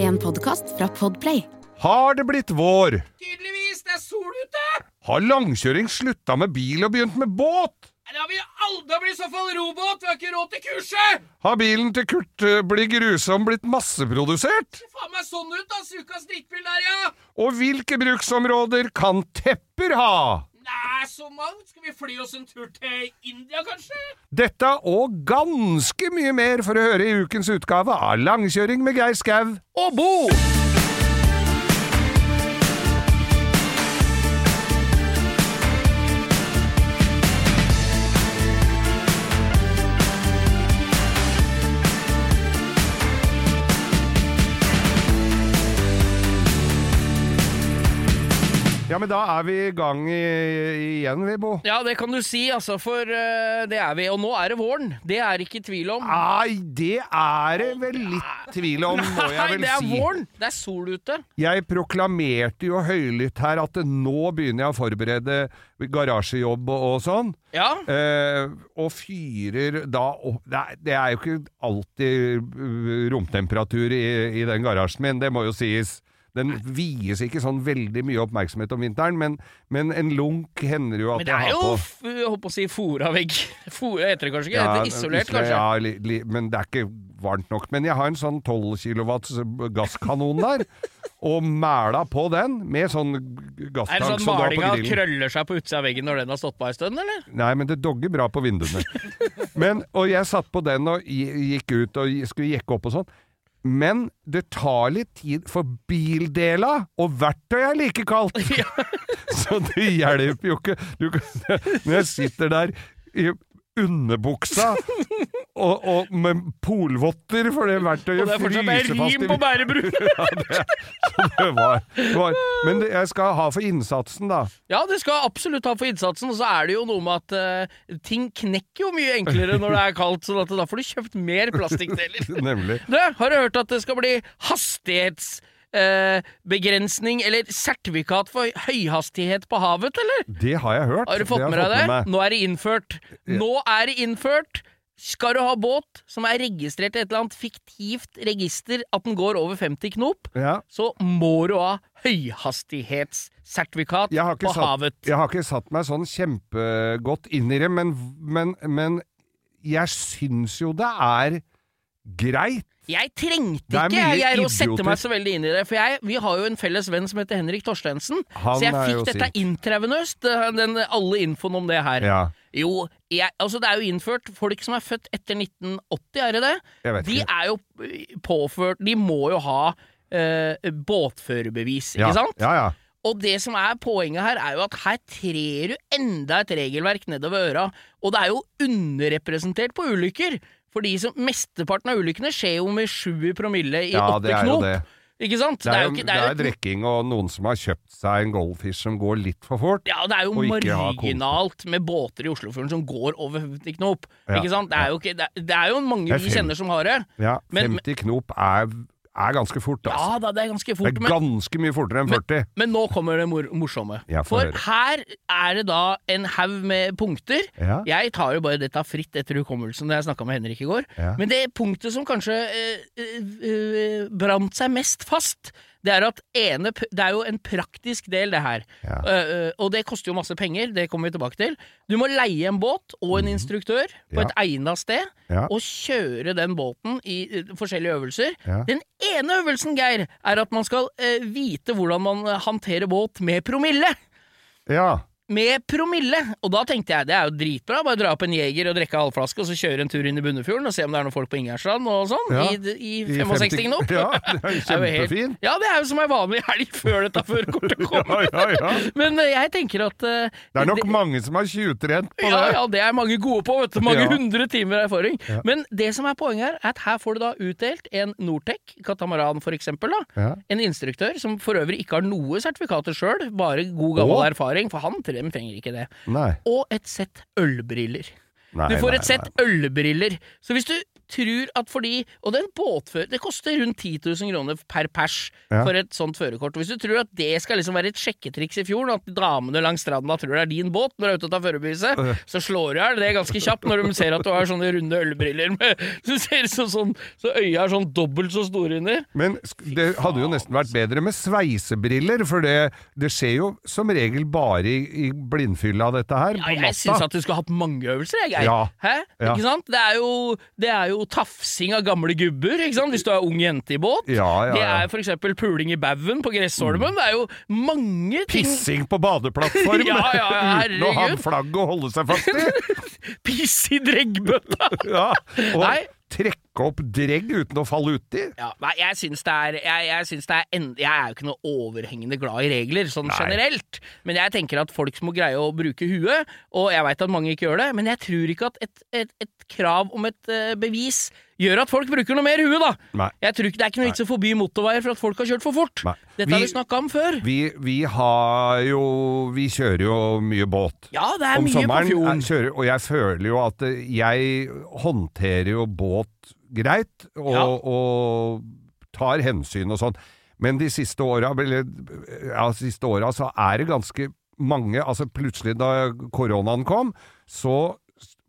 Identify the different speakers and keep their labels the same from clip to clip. Speaker 1: En podkast fra Podplay.
Speaker 2: Har det blitt vår?
Speaker 3: Tydeligvis, det er sol ute!
Speaker 2: Har langkjøring slutta med bil og begynt med båt?
Speaker 3: Nei, Da vil alle bli i så fall robot, vi har ikke råd til kurset!
Speaker 2: Har bilen til Kurt eh, Bligg Rusom blitt masseprodusert?
Speaker 3: Det faen meg sånn ut, da, ukas drittbil der, ja!
Speaker 2: Og hvilke bruksområder kan tepper ha?
Speaker 3: Nei, så mangt, skal vi fly oss en tur til India, kanskje?
Speaker 2: Dette og ganske mye mer for å høre i ukens utgave av Langkjøring med Geir Skau og Bo! Ja, men da er vi i gang i, igjen, vi, Bo.
Speaker 3: Ja, det kan du si, altså, for eh, det er vi, og nå er det våren, det er ikke tvil om.
Speaker 2: Nei, det er det vel litt tvil om, må jeg
Speaker 3: Nei,
Speaker 2: vel
Speaker 3: det er
Speaker 2: si.
Speaker 3: våren, det er sol ute.
Speaker 2: Jeg proklamerte jo høylytt her at nå begynner jeg å forberede garasjejobb og, og sånn.
Speaker 3: Ja,
Speaker 2: Eh, og fyrer da opp det er, det er jo ikke alltid uh, romtemperatur i, i den garasjen min, det må jo sies. Den vies ikke sånn veldig mye oppmerksomhet om vinteren, men, men en lunk hender jo at
Speaker 3: men det er
Speaker 2: jeg har
Speaker 3: jo,
Speaker 2: på.
Speaker 3: f- jeg holdt på å si, foravegg. Fora heter det kanskje ikke, det
Speaker 2: Ja,
Speaker 3: heter isolert,
Speaker 2: isolert,
Speaker 3: kanskje.
Speaker 2: Ja, li, li, men det er ikke varmt nok. Men jeg har en sånn 12 kilowatts gasskanon der, og mæla på den med sånn g-
Speaker 3: Er det
Speaker 2: gasstank som
Speaker 3: sånn
Speaker 2: du har på
Speaker 3: malinga
Speaker 2: grillen.
Speaker 3: krøller seg på utsida av veggen når den har stått på ei stund, eller?
Speaker 2: Nei, men det dogger bra på vinduene. Men, og jeg satt på den og gi- gikk ut og skulle jekke opp og sånn. Men det tar litt tid, for bildela og verktøy er like kaldt! Så det hjelper jo ikke. Du, kan- når jeg sitter der i underbuksa og, og med polvotter, for det verktøyet
Speaker 3: Og det er fortsatt det er
Speaker 2: fryser fast
Speaker 3: rim på
Speaker 2: i
Speaker 3: bærebru!
Speaker 2: det var, det var. Men det, jeg skal ha for innsatsen, da.
Speaker 3: Ja, du skal absolutt ha for innsatsen, og så er det jo noe med at eh, ting knekker jo mye enklere når det er kaldt, så da får du kjøpt mer plastikkdeler.
Speaker 2: Nemlig.
Speaker 3: Du, har du hørt at det skal bli hastighetsbegrensning eller sertifikat for høyhastighet på havet, eller?
Speaker 2: Det har jeg hørt.
Speaker 3: Har du fått
Speaker 2: har
Speaker 3: med
Speaker 2: jeg
Speaker 3: deg det?
Speaker 2: meg.
Speaker 3: Nå er det innført. Nå er det innført! Skal du ha båt som er registrert i et eller annet fiktivt register at den går over 50 knop,
Speaker 2: Ja.
Speaker 3: så må du ha høyhastighetssertifikat
Speaker 2: jeg har ikke
Speaker 3: på
Speaker 2: satt,
Speaker 3: havet.
Speaker 2: Jeg har ikke satt meg sånn kjempegodt inn i det, men, men, men jeg syns jo det er greit.
Speaker 3: Jeg trengte
Speaker 2: Det er
Speaker 3: ikke
Speaker 2: mye
Speaker 3: jeg, Geir, å sette
Speaker 2: idioter.
Speaker 3: meg så veldig inn i det, for jeg, vi har jo en felles venn som heter Henrik Torstensen,
Speaker 2: Han
Speaker 3: så jeg
Speaker 2: er jo
Speaker 3: fikk dette
Speaker 2: sint.
Speaker 3: intravenøst, det- den, alle infoen om det her.
Speaker 2: Ja,
Speaker 3: Jo, jeg, altså det er jo innført, folk som er født etter 1980, er det det?
Speaker 2: jeg vet
Speaker 3: De
Speaker 2: ikke.
Speaker 3: er jo påført, de må jo ha eh, båtførerbevis,
Speaker 2: ja.
Speaker 3: ikke sant?
Speaker 2: Ja, ja.
Speaker 3: Og det som er poenget her, er jo at her trer du enda et regelverk nedover øra, og det er jo underrepresentert på ulykker. For de som, mesteparten av ulykkene skjer jo med 7 promille i
Speaker 2: Ja, det
Speaker 3: 8
Speaker 2: er jo
Speaker 3: knop.
Speaker 2: det.
Speaker 3: Ikke sant?
Speaker 2: Det er, jo,
Speaker 3: ikke-
Speaker 2: det er drikking og noen som har kjøpt seg en Goldfish som går litt for fort.
Speaker 3: ja, det er jo
Speaker 2: og ikke ha
Speaker 3: marginalt med båter i Oslofjorden som går over 50 knop.
Speaker 2: Ja,
Speaker 3: ikke sant? Det er, jo ikke, det, er- det er jo mange
Speaker 2: Det er
Speaker 3: vi
Speaker 2: fem-
Speaker 3: kjenner som har det.
Speaker 2: Ja,
Speaker 3: Men-
Speaker 2: 50 knop er, er ganske fort, altså.
Speaker 3: Ja da, det er ganske
Speaker 2: Det
Speaker 3: fort.
Speaker 2: er
Speaker 3: Men,
Speaker 2: ganske mye fortere enn 40.
Speaker 3: men nå kommer det mor morsomme.
Speaker 2: Ja, få
Speaker 3: For
Speaker 2: høre.
Speaker 3: her er det da en haug med punkter.
Speaker 2: Ja.
Speaker 3: Jeg tar jo bare dette fritt etter hukommelsen da jeg snakka med Henrik i går.
Speaker 2: Ja.
Speaker 3: Men det punktet som kanskje eh, eh, eh, brant seg mest fast, det er at ene, p- det er jo en praktisk del, det her.
Speaker 2: Ja.
Speaker 3: Eh, eh, og det koster jo masse penger, det kommer vi tilbake til. Du må leie en båt og en instruktør på
Speaker 2: Mhm. Ja.
Speaker 3: et egna sted,
Speaker 2: Ja.
Speaker 3: og kjøre den båten i eh, forskjellige øvelser.
Speaker 2: Ja.
Speaker 3: Den ene øvelsen, Geir, er at man skal eh, vite hvordan man eh, håndterer båt med promille
Speaker 2: Ja.
Speaker 3: med promille. Og da tenkte jeg det er jo dritbra, bare dra opp en jeger og drikke halvflaske, og så kjøre en tur inn i Bunnefjorden og se om det er noen folk på Ingjerdstrand og sånn,
Speaker 2: Ja.
Speaker 3: i,
Speaker 2: I
Speaker 3: i 65 knop.
Speaker 2: Ja, det er
Speaker 3: Det er jo helt-
Speaker 2: kjempefint.
Speaker 3: Ja, det er jo som ei vanlig helg før dette førerkortet
Speaker 2: Ja,
Speaker 3: kommer.
Speaker 2: ja, ja.
Speaker 3: Men eh, jeg tenker at eh,
Speaker 2: Det er nok mange som har tjuvtrent på
Speaker 3: ja,
Speaker 2: det.
Speaker 3: ja, det er mange gode på, vet du. Mange
Speaker 2: Ja.
Speaker 3: hundre timer erfaring.
Speaker 2: Ja.
Speaker 3: Men det som er poenget her, er at her får du da utdelt en Nortec katamaran, for eksempel, da.
Speaker 2: Ja.
Speaker 3: En instruktør som for øvrig ikke har noe sertifikater sjøl, bare god gammel
Speaker 2: Å.
Speaker 3: erfaring, for han til dem trenger ikke det.
Speaker 2: Nei.
Speaker 3: Og et sett ølbriller.
Speaker 2: Nei,
Speaker 3: Du får
Speaker 2: nei,
Speaker 3: et sett
Speaker 2: nei.
Speaker 3: ølbriller. Så hvis du tror at fordi Og det er en båtfører Det koster rundt 10 000 kroner per pers
Speaker 2: Ja.
Speaker 3: for et sånt førerkort. Og Hvis du tror at det skal liksom være et sjekketriks i fjorden, at damene langs stranda tror det er din båt når du er ute og tar førerbeviset,
Speaker 2: Øh.
Speaker 3: så slår du i hjel det ganske kjapt når de ser at du har sånne runde ølbriller med Så ser det ut som sånn Så øya er sånn dobbelt så store inni.
Speaker 2: Men sk- det hadde jo nesten
Speaker 3: altså.
Speaker 2: vært bedre med sveisebriller, for det, det skjer jo som regel bare i, i blindfylla, dette her,
Speaker 3: Ja,
Speaker 2: på
Speaker 3: jeg syns
Speaker 2: natta.
Speaker 3: at du skulle hatt mange øvelser, jeg, Geir.
Speaker 2: Ja.
Speaker 3: Hæ?
Speaker 2: Ja.
Speaker 3: Ikke sant? Det er, jo, det er jo tafsing av gamle gubber, ikke sant? hvis du er ung jente i båt.
Speaker 2: Ja, ja,
Speaker 3: Det
Speaker 2: ja. Mm.
Speaker 3: er for eksempel puling i baugen på Gressholmen. Det er jo mange ting
Speaker 2: Pissing på badeplattform
Speaker 3: Ja, ja, ja,
Speaker 2: uten å ha
Speaker 3: herregud.
Speaker 2: flagget å holde seg fast i!
Speaker 3: Piss i dreggbøtta!
Speaker 2: Ja, og
Speaker 3: Nei.
Speaker 2: trekke opp dregg uten å falle uti.
Speaker 3: Ja, nei, jeg syns det er Jeg, jeg, syns det er en, jeg er jo ikke noe overhengende glad i regler, sånn
Speaker 2: Nei.
Speaker 3: generelt. Men jeg tenker at folk må greie å bruke huet, og jeg veit at mange ikke gjør det. Men jeg tror ikke at et, et, et krav om et eh, bevis gjør at folk bruker noe mer hue, da.
Speaker 2: Nei.
Speaker 3: Jeg tror ikke Det er ikke noe vits i å forby motorveier for at folk har kjørt for fort.
Speaker 2: Nei.
Speaker 3: Dette
Speaker 2: Vi-
Speaker 3: har vi snakka om før.
Speaker 2: Vi, vi har jo Vi kjører jo mye båt.
Speaker 3: Ja, det er
Speaker 2: Om
Speaker 3: mye på
Speaker 2: sommeren
Speaker 3: fjorden.
Speaker 2: jeg kjører, og jeg føler jo at eh, jeg håndterer jo båt greit, og,
Speaker 3: Ja.
Speaker 2: og tar hensyn og sånn. Men de siste åra, eller ja, siste åra, så er det ganske mange Altså plutselig da koronaen kom, så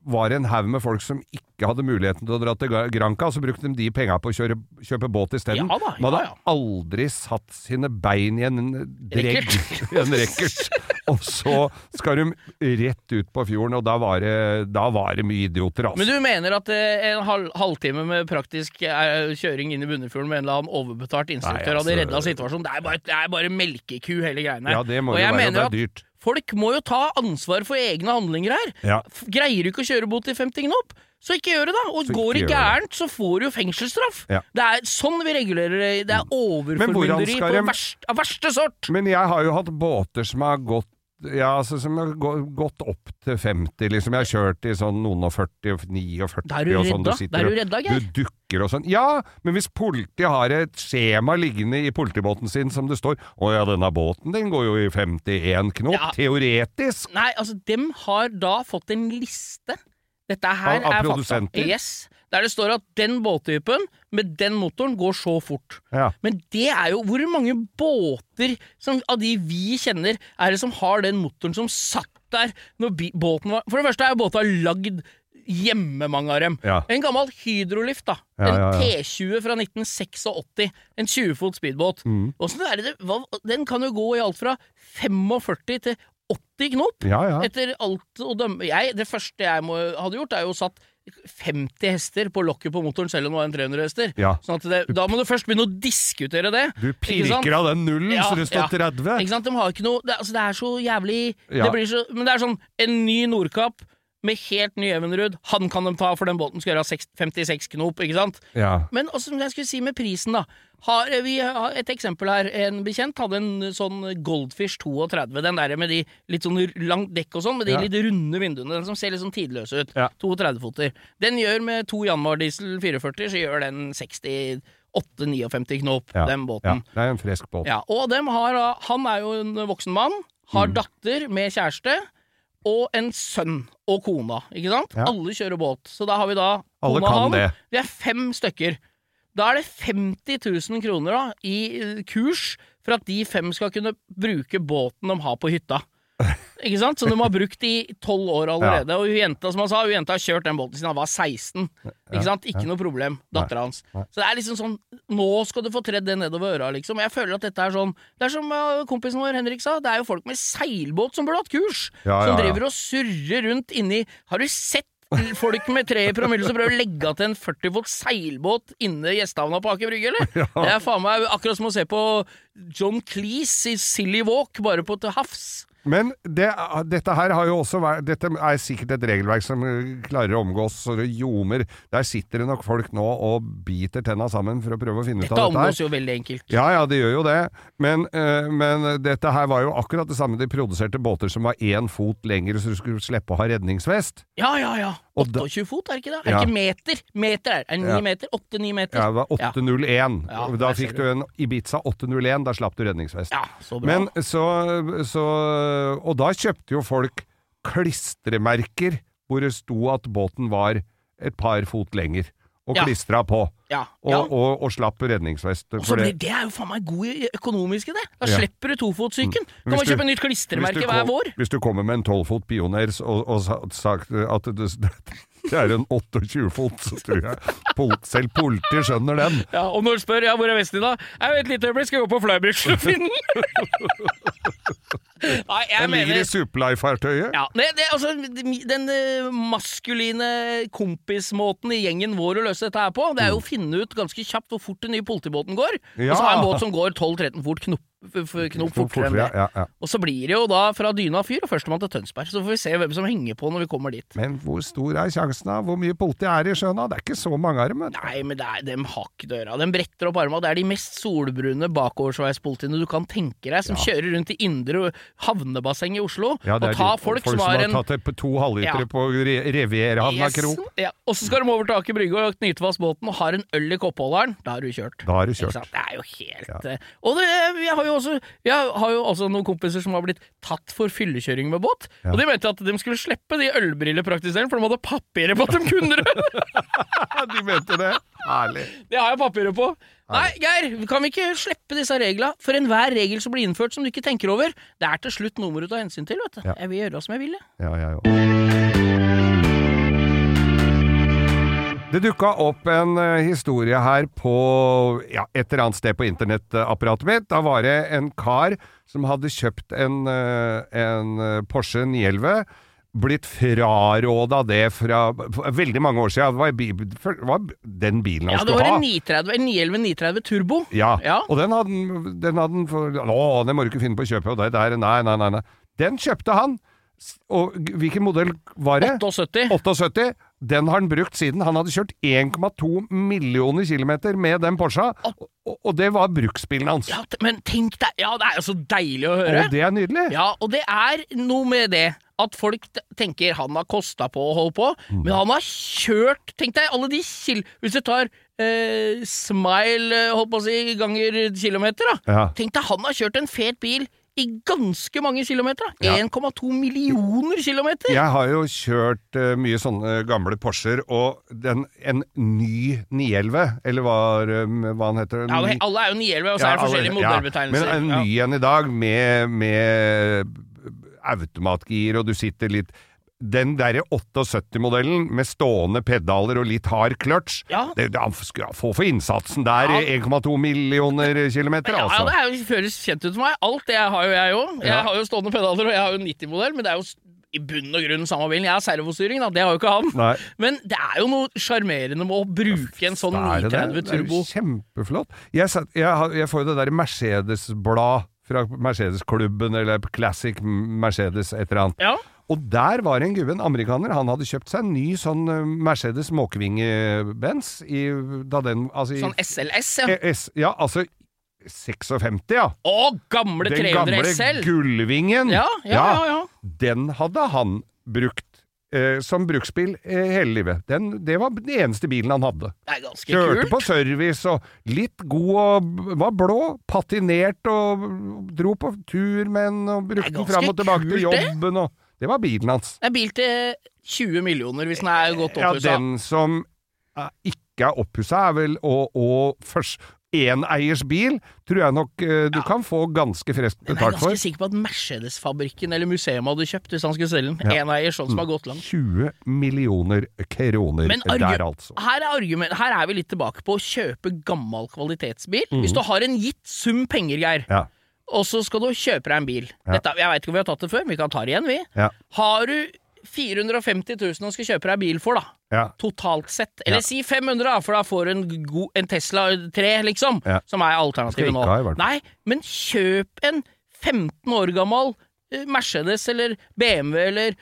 Speaker 2: var det en haug med folk som ikke hadde muligheten til å dra til Gra- Granca, så brukte de de penga på å kjøre, kjøpe båt isteden.
Speaker 3: Ja da,
Speaker 2: Man
Speaker 3: ja,
Speaker 2: hadde
Speaker 3: ja.
Speaker 2: aldri satt sine bein i en eh, dregg,
Speaker 3: Racket.
Speaker 2: i en racket. Og så skal de rett ut på fjorden, og da var det, da var det mye idioter,
Speaker 3: Men
Speaker 2: altså.
Speaker 3: du mener at eh, en halv, halvtime med praktisk eh, kjøring inn i Bunnefjorden med en eller annen overbetalt instruktør
Speaker 2: Nei, altså-
Speaker 3: hadde redda situasjonen? Det er bare, det er bare melkeku, hele greiene.
Speaker 2: ja, det må
Speaker 3: og
Speaker 2: jo
Speaker 3: jeg
Speaker 2: være, og
Speaker 3: mener
Speaker 2: det
Speaker 3: at
Speaker 2: er dyrt.
Speaker 3: Folk må jo ta ansvar for egne handlinger her.
Speaker 2: Ja.
Speaker 3: F- Greier du ikke å kjøre bot i 50 knop, så ikke gjør det, da. Og
Speaker 2: Så ikke
Speaker 3: går det
Speaker 2: gjør det.
Speaker 3: gærent, så får du jo fengselsstraff.
Speaker 2: Ja.
Speaker 3: Det er sånn vi regulerer det. Det er
Speaker 2: hvordan
Speaker 3: overformynderi
Speaker 2: skal
Speaker 3: på
Speaker 2: dem-
Speaker 3: verst, av verste sort.
Speaker 2: Men jeg har jo hatt båter som har gått ja, altså som har gå- gått opp til 50, liksom. Jeg har kjørt i sånn noen og 40, 49
Speaker 3: Da er du
Speaker 2: og sånn.
Speaker 3: redda.
Speaker 2: sitter
Speaker 3: Da er
Speaker 2: og-
Speaker 3: du redda, Geir.
Speaker 2: Du dukker og sånn. Ja, men hvis politiet har et skjema liggende i politibåten sin som det står 'Å ja, denne båten den går jo i 51 knop',
Speaker 3: Ja.
Speaker 2: teoretisk.
Speaker 3: Nei, altså, dem har da fått en liste. Dette her
Speaker 2: Av- av
Speaker 3: er
Speaker 2: produsenter?
Speaker 3: fakta. Yes. Der det står at den båttypen med den motoren går så fort.
Speaker 2: Ja.
Speaker 3: Men det er jo Hvor mange båter som, av de vi kjenner, er det som har den motoren som satt der når bi- båten var For det første er jo båta lagd hjemme, mange av dem.
Speaker 2: Ja.
Speaker 3: En gammel hydrolift, da.
Speaker 2: Ja, ja,
Speaker 3: En
Speaker 2: ja.
Speaker 3: T20 fra 1986. En 20 fot speedbåt.
Speaker 2: Mm.
Speaker 3: Åssen er det det hva- Den kan jo gå i alt fra 45 til 80 knop.
Speaker 2: Ja, ja.
Speaker 3: Etter alt å dømme jeg, Det første jeg må, hadde gjort, er jo satt 50 hester på lokket på motoren, selv om det var en 300 hester.
Speaker 2: Ja.
Speaker 3: Sånn at det, da må du først begynne å diskutere det.
Speaker 2: Du
Speaker 3: Ikke sant?
Speaker 2: pirker av den nullen,
Speaker 3: Ja,
Speaker 2: så det står
Speaker 3: ja.
Speaker 2: 30.
Speaker 3: Ikke sant? De har ikke noe Det, altså, det er så jævlig
Speaker 2: Ja.
Speaker 3: det blir så, Men det er sånn En ny Nordkapp med helt ny Evenrud, han kan de ta, for den båten skal gjøre 6 56 knop, ikke sant?
Speaker 2: Ja.
Speaker 3: Men også, som jeg skulle si med prisen, da. Har, eh, vi har et eksempel her. En bekjent hadde en sånn Goldfish 32. Den der med de litt sånn langt dekk og sånn, med de
Speaker 2: Ja.
Speaker 3: litt runde vinduene. Den som ser litt sånn tidløs ut.
Speaker 2: Ja.
Speaker 3: 32-foter. Den gjør med to Janmar diesel 44, så gjør den 68-59 knop,
Speaker 2: Ja.
Speaker 3: den båten.
Speaker 2: Ja. Det er en frisk båt.
Speaker 3: Ja, og dem har, da- han er jo en voksen mann,
Speaker 2: Mm.
Speaker 3: har datter med kjæreste, og en sønn og kona, ikke sant?
Speaker 2: Ja.
Speaker 3: Alle kjører båt, så da har vi da
Speaker 2: Alle
Speaker 3: kona
Speaker 2: kan
Speaker 3: og han.
Speaker 2: det.
Speaker 3: Vi er fem stykker. Da er det 50 000 kroner da, i eh, kurs for at de fem skal kunne bruke båten de har på hytta. Ikke sant? Som de har brukt i tolv år allerede. Og hun jenta som han sa, hun jenta har kjørt den båten siden han var 16. Ikke sant? Ikke noe problem. Dattera hans. Så det er liksom sånn Nå skal du få tredd det nedover øra, liksom. Jeg føler at dette er sånn Det er som eh, kompisen vår Henrik sa, det er jo folk med seilbåt som burde hatt kurs.
Speaker 2: Ja, ja,
Speaker 3: som
Speaker 2: ja.
Speaker 3: driver og surrer rundt inni Har du sett folk med tre i promille som prøver å legge av til en 40 fot seilbåt inne i gjestehavna på Aker Brygge, eller? Det er faen meg akkurat som å se på John Cleese i Silly Walk, bare på til havs.
Speaker 2: Men det, dette her har jo også vært Dette er sikkert et regelverk som eh, klarer å omgås så det ljomer. Der sitter det nok folk nå og biter tenna sammen for å prøve å finne ut
Speaker 3: Dette
Speaker 2: av dette her.
Speaker 3: omgås jo veldig enkelt.
Speaker 2: Ja, ja, det gjør jo det. Men, eh, men dette her var jo akkurat det samme. De produserte båter som var én fot lengre, så du skulle slippe å ha redningsvest.
Speaker 3: Ja, ja, ja.
Speaker 2: Og da-
Speaker 3: 28 fot, er det ikke det? Er
Speaker 2: Ja.
Speaker 3: det ikke meter? Meter er det. Er det ni
Speaker 2: Ja.
Speaker 3: meter? Åtte-ni meter?
Speaker 2: Ja, det var 801.
Speaker 3: Ja,
Speaker 2: da
Speaker 3: der ser
Speaker 2: fikk du en Ibiza 801. Da slapp du redningsvest.
Speaker 3: Ja, så bra.
Speaker 2: men så, så Og da kjøpte jo folk klistremerker hvor det sto at båten var et par fot lenger. og
Speaker 3: Ja.
Speaker 2: klistra på.
Speaker 3: Ja.
Speaker 2: Og,
Speaker 3: ja.
Speaker 2: og, og slapp redningsvest.
Speaker 3: Og så
Speaker 2: for
Speaker 3: blir
Speaker 2: det-
Speaker 3: det er jo faen meg god i- økonomisk i det!
Speaker 2: Ja.
Speaker 3: Da
Speaker 2: Mm.
Speaker 3: slipper du tofotsyken! Kan
Speaker 2: Hvis du-
Speaker 3: man kjøpe nytt
Speaker 2: hvis du
Speaker 3: klistremerke hver
Speaker 2: kom-
Speaker 3: vår?
Speaker 2: Hvis du kommer med en 12-fot pioner s- og, og sa- sagt at det, det er en 28-fot, så tror jeg pol, selv politiet skjønner den.
Speaker 3: Ja, Og når du spør ja, hvor er vesten din, da? Jeg vet litt øyeblikk, skal gå på Flybridge og finne den! Nei, jeg
Speaker 2: Den ligger i
Speaker 3: mener
Speaker 2: Supelife-fartøyet.
Speaker 3: ja, det, det, altså, Den eh, maskuline kompismåten i gjengen vår å løse dette her på, det er jo å finne ut ganske kjapt hvor fort den nye politibåten går. Og
Speaker 2: Mm. Ja.
Speaker 3: så ha en båt som går 12-13 fort, knopp, f- f- knopp fortere enn det.
Speaker 2: ja, ja, ja.
Speaker 3: Og så blir det jo da fra dyna fyr og førstemann til Tønsberg. Så får vi se hvem som henger på når vi kommer dit.
Speaker 2: Men hvor stor er sjansen av hvor mye politi er i sjøen? da? Det er ikke så mange av dem. vet du.
Speaker 3: Nei, men det er, dem har ikke døra. De bretter opp arma. Det er de mest solbrune bakoversveispolitiene du kan tenke deg, som kjører rundt i indre havnebasseng i Oslo
Speaker 2: Ja, det
Speaker 3: og
Speaker 2: er
Speaker 3: tar
Speaker 2: de-
Speaker 3: folk, som har en
Speaker 2: tatt et- to halvlitere
Speaker 3: Ja.
Speaker 2: på Re Revierhavna
Speaker 3: Yes.
Speaker 2: kro.
Speaker 3: Ja. Og så skal de over taket i brygga og knyte fast båten og har en øl i koppholderen. Da har du kjørt.
Speaker 2: Da har du
Speaker 3: Ikke
Speaker 2: kjørt.
Speaker 3: sant? Det er jo helt eh, Og det, jeg, har jo også, jeg har jo også noen kompiser som har blitt tatt for fyllekjøring med båt.
Speaker 2: Ja.
Speaker 3: Og de mente at de skulle slippe de ølbrillepraktiserene, for de hadde papirer på at de kunne det!
Speaker 2: Ja, de mente det. Herlig.
Speaker 3: Det har jeg papirer på. Nei, Geir, kan vi ikke slippe disse reglene? For enhver regel som blir innført som du ikke tenker over, det er til slutt noe du tar hensyn til, vet du.
Speaker 2: Ja.
Speaker 3: Jeg vil gjøre som jeg vil, jeg.
Speaker 2: Ja, jeg òg. Det dukka opp en eh, historie her på ja, et eller annet sted på internettapparatet mitt. Da var det en kar som hadde kjøpt en, eh, en eh, Porsche 911. Blitt fraråda det fra for veldig mange år siden. Det var, bi- for- det var den bilen han
Speaker 3: Ja, det
Speaker 2: skulle
Speaker 3: var
Speaker 2: ha.
Speaker 3: en 930, en 911 930 Turbo.
Speaker 2: Ja.
Speaker 3: Ja.
Speaker 2: og den hadde han- den hadde han for Å, den må du ikke finne på å kjøpe, og det der Nei, nei, nei. nei. Den kjøpte han. S- Og g- hvilken modell var det?
Speaker 3: 78.
Speaker 2: 78. Den har han brukt siden. Han hadde kjørt 1,2 millioner kilometer med den Porscha, og, og det var bruksbilen hans.
Speaker 3: Ja, t- men tenk deg Ja, det er jo så deilig å høre.
Speaker 2: Og det er nydelig.
Speaker 3: Ja, og det er noe med det at folk t- tenker han har kosta på å holde på,
Speaker 2: Mm.
Speaker 3: men han har kjørt Tenk deg alle de kil... Hvis du tar eh, smile, eh, holdt på å si, ganger kilometer, da.
Speaker 2: Ja.
Speaker 3: Tenk deg han har kjørt en fet bil i ganske mange kilometer. da.
Speaker 2: Ja.
Speaker 3: 1,2 millioner kilometer!
Speaker 2: Jeg har jo kjørt eh, mye sånne gamle Porscher, og den, en ny 911, eller hva, eh, hva han heter
Speaker 3: Ja,
Speaker 2: Ny-
Speaker 3: det- alle er jo 911, og så er det
Speaker 2: Ja,
Speaker 3: forskjellige
Speaker 2: alle- ja,
Speaker 3: modellbetegnelser.
Speaker 2: Men en ny en i dag med, med automatgir, og du sitter litt Den derre 78-modellen med stående pedaler og litt hard kløtsj
Speaker 3: Ja.
Speaker 2: det, det, Han skulle få for innsatsen der,
Speaker 3: Ja.
Speaker 2: 1,2 millioner kilometer,
Speaker 3: Ja, ja,
Speaker 2: altså.
Speaker 3: det er jo føles kjent ut for meg. Alt det har jo jeg òg. Jeg
Speaker 2: Ja.
Speaker 3: har jo stående pedaler, og jeg har jo 90-modell, men det er jo s- i bunn og grunn samme bilen. Jeg har servostyring, da. Det har jo ikke han.
Speaker 2: Nei.
Speaker 3: Men det er jo noe sjarmerende med å bruke en sånn
Speaker 2: Er det det?
Speaker 3: 930 Turbo.
Speaker 2: Det er jo kjempeflott. Jeg, satt, jeg, har- jeg får jo det derre Mercedes-blad fra Mercedes-klubben, eller Classic Mercedes, et eller annet.
Speaker 3: Ja.
Speaker 2: Og der var en gubbe, en amerikaner, han hadde kjøpt seg en ny sånn eh, Mercedes måkevinge-Benz i da den altså, i,
Speaker 3: Sånn SLS, ja.
Speaker 2: eh, S, Ja, altså 56, ja.
Speaker 3: Å, gamle
Speaker 2: Den
Speaker 3: 300
Speaker 2: gamle
Speaker 3: SL!
Speaker 2: gullvingen.
Speaker 3: Ja, ja, ja, ja.
Speaker 2: Den hadde han brukt eh, som bruksbil eh, hele livet. Den, det var den eneste bilen han hadde.
Speaker 3: Det er ganske
Speaker 2: Kjørte
Speaker 3: kult.
Speaker 2: på service og litt god og b- var blå, patinert og dro på tur med den og
Speaker 3: Det er
Speaker 2: brukte den
Speaker 3: ganske
Speaker 2: fram og tilbake til
Speaker 3: kult, det.
Speaker 2: jobben og Det var bilen hans.
Speaker 3: Det er bil til 20 millioner hvis den er godt
Speaker 2: Eh, Ja,
Speaker 3: opphusa.
Speaker 2: den som eh, ikke er oppussa, er vel å, å først Eneiers bil tror jeg nok eh, du kan få ganske freskt
Speaker 3: Jeg er
Speaker 2: betalt for.
Speaker 3: ganske sikker på at Mercedes-fabrikken eller museet hadde kjøpt hvis han skulle selge den.
Speaker 2: Ja. Mm.
Speaker 3: Eneier, sånn som har gått langt.
Speaker 2: 20 millioner kroner
Speaker 3: Men
Speaker 2: der,
Speaker 3: argu-
Speaker 2: altså.
Speaker 3: Her er, argument, her er vi litt tilbake på å kjøpe gammel kvalitetsbil. Hvis du har en gitt sum penger, Geir,
Speaker 2: Mhm. Ja.
Speaker 3: og så skal du kjøpe deg en bil Dette, Jeg veit ikke om vi har tatt det før, men vi kan ta det igjen, vi.
Speaker 2: Ja.
Speaker 3: Har du 450 000 og skal kjøpe deg bil for, da,
Speaker 2: Ja.
Speaker 3: totalt sett
Speaker 2: Ja.
Speaker 3: Eller si 500, da, for da får du en, god- en Tesla 3, liksom,
Speaker 2: Ja.
Speaker 3: som er
Speaker 2: Skal
Speaker 3: alternativet
Speaker 2: ikke
Speaker 3: nå.
Speaker 2: ha, i hvert fall.
Speaker 3: Nei, men kjøp en 15 år gammel eh, Mercedes eller BMW eller,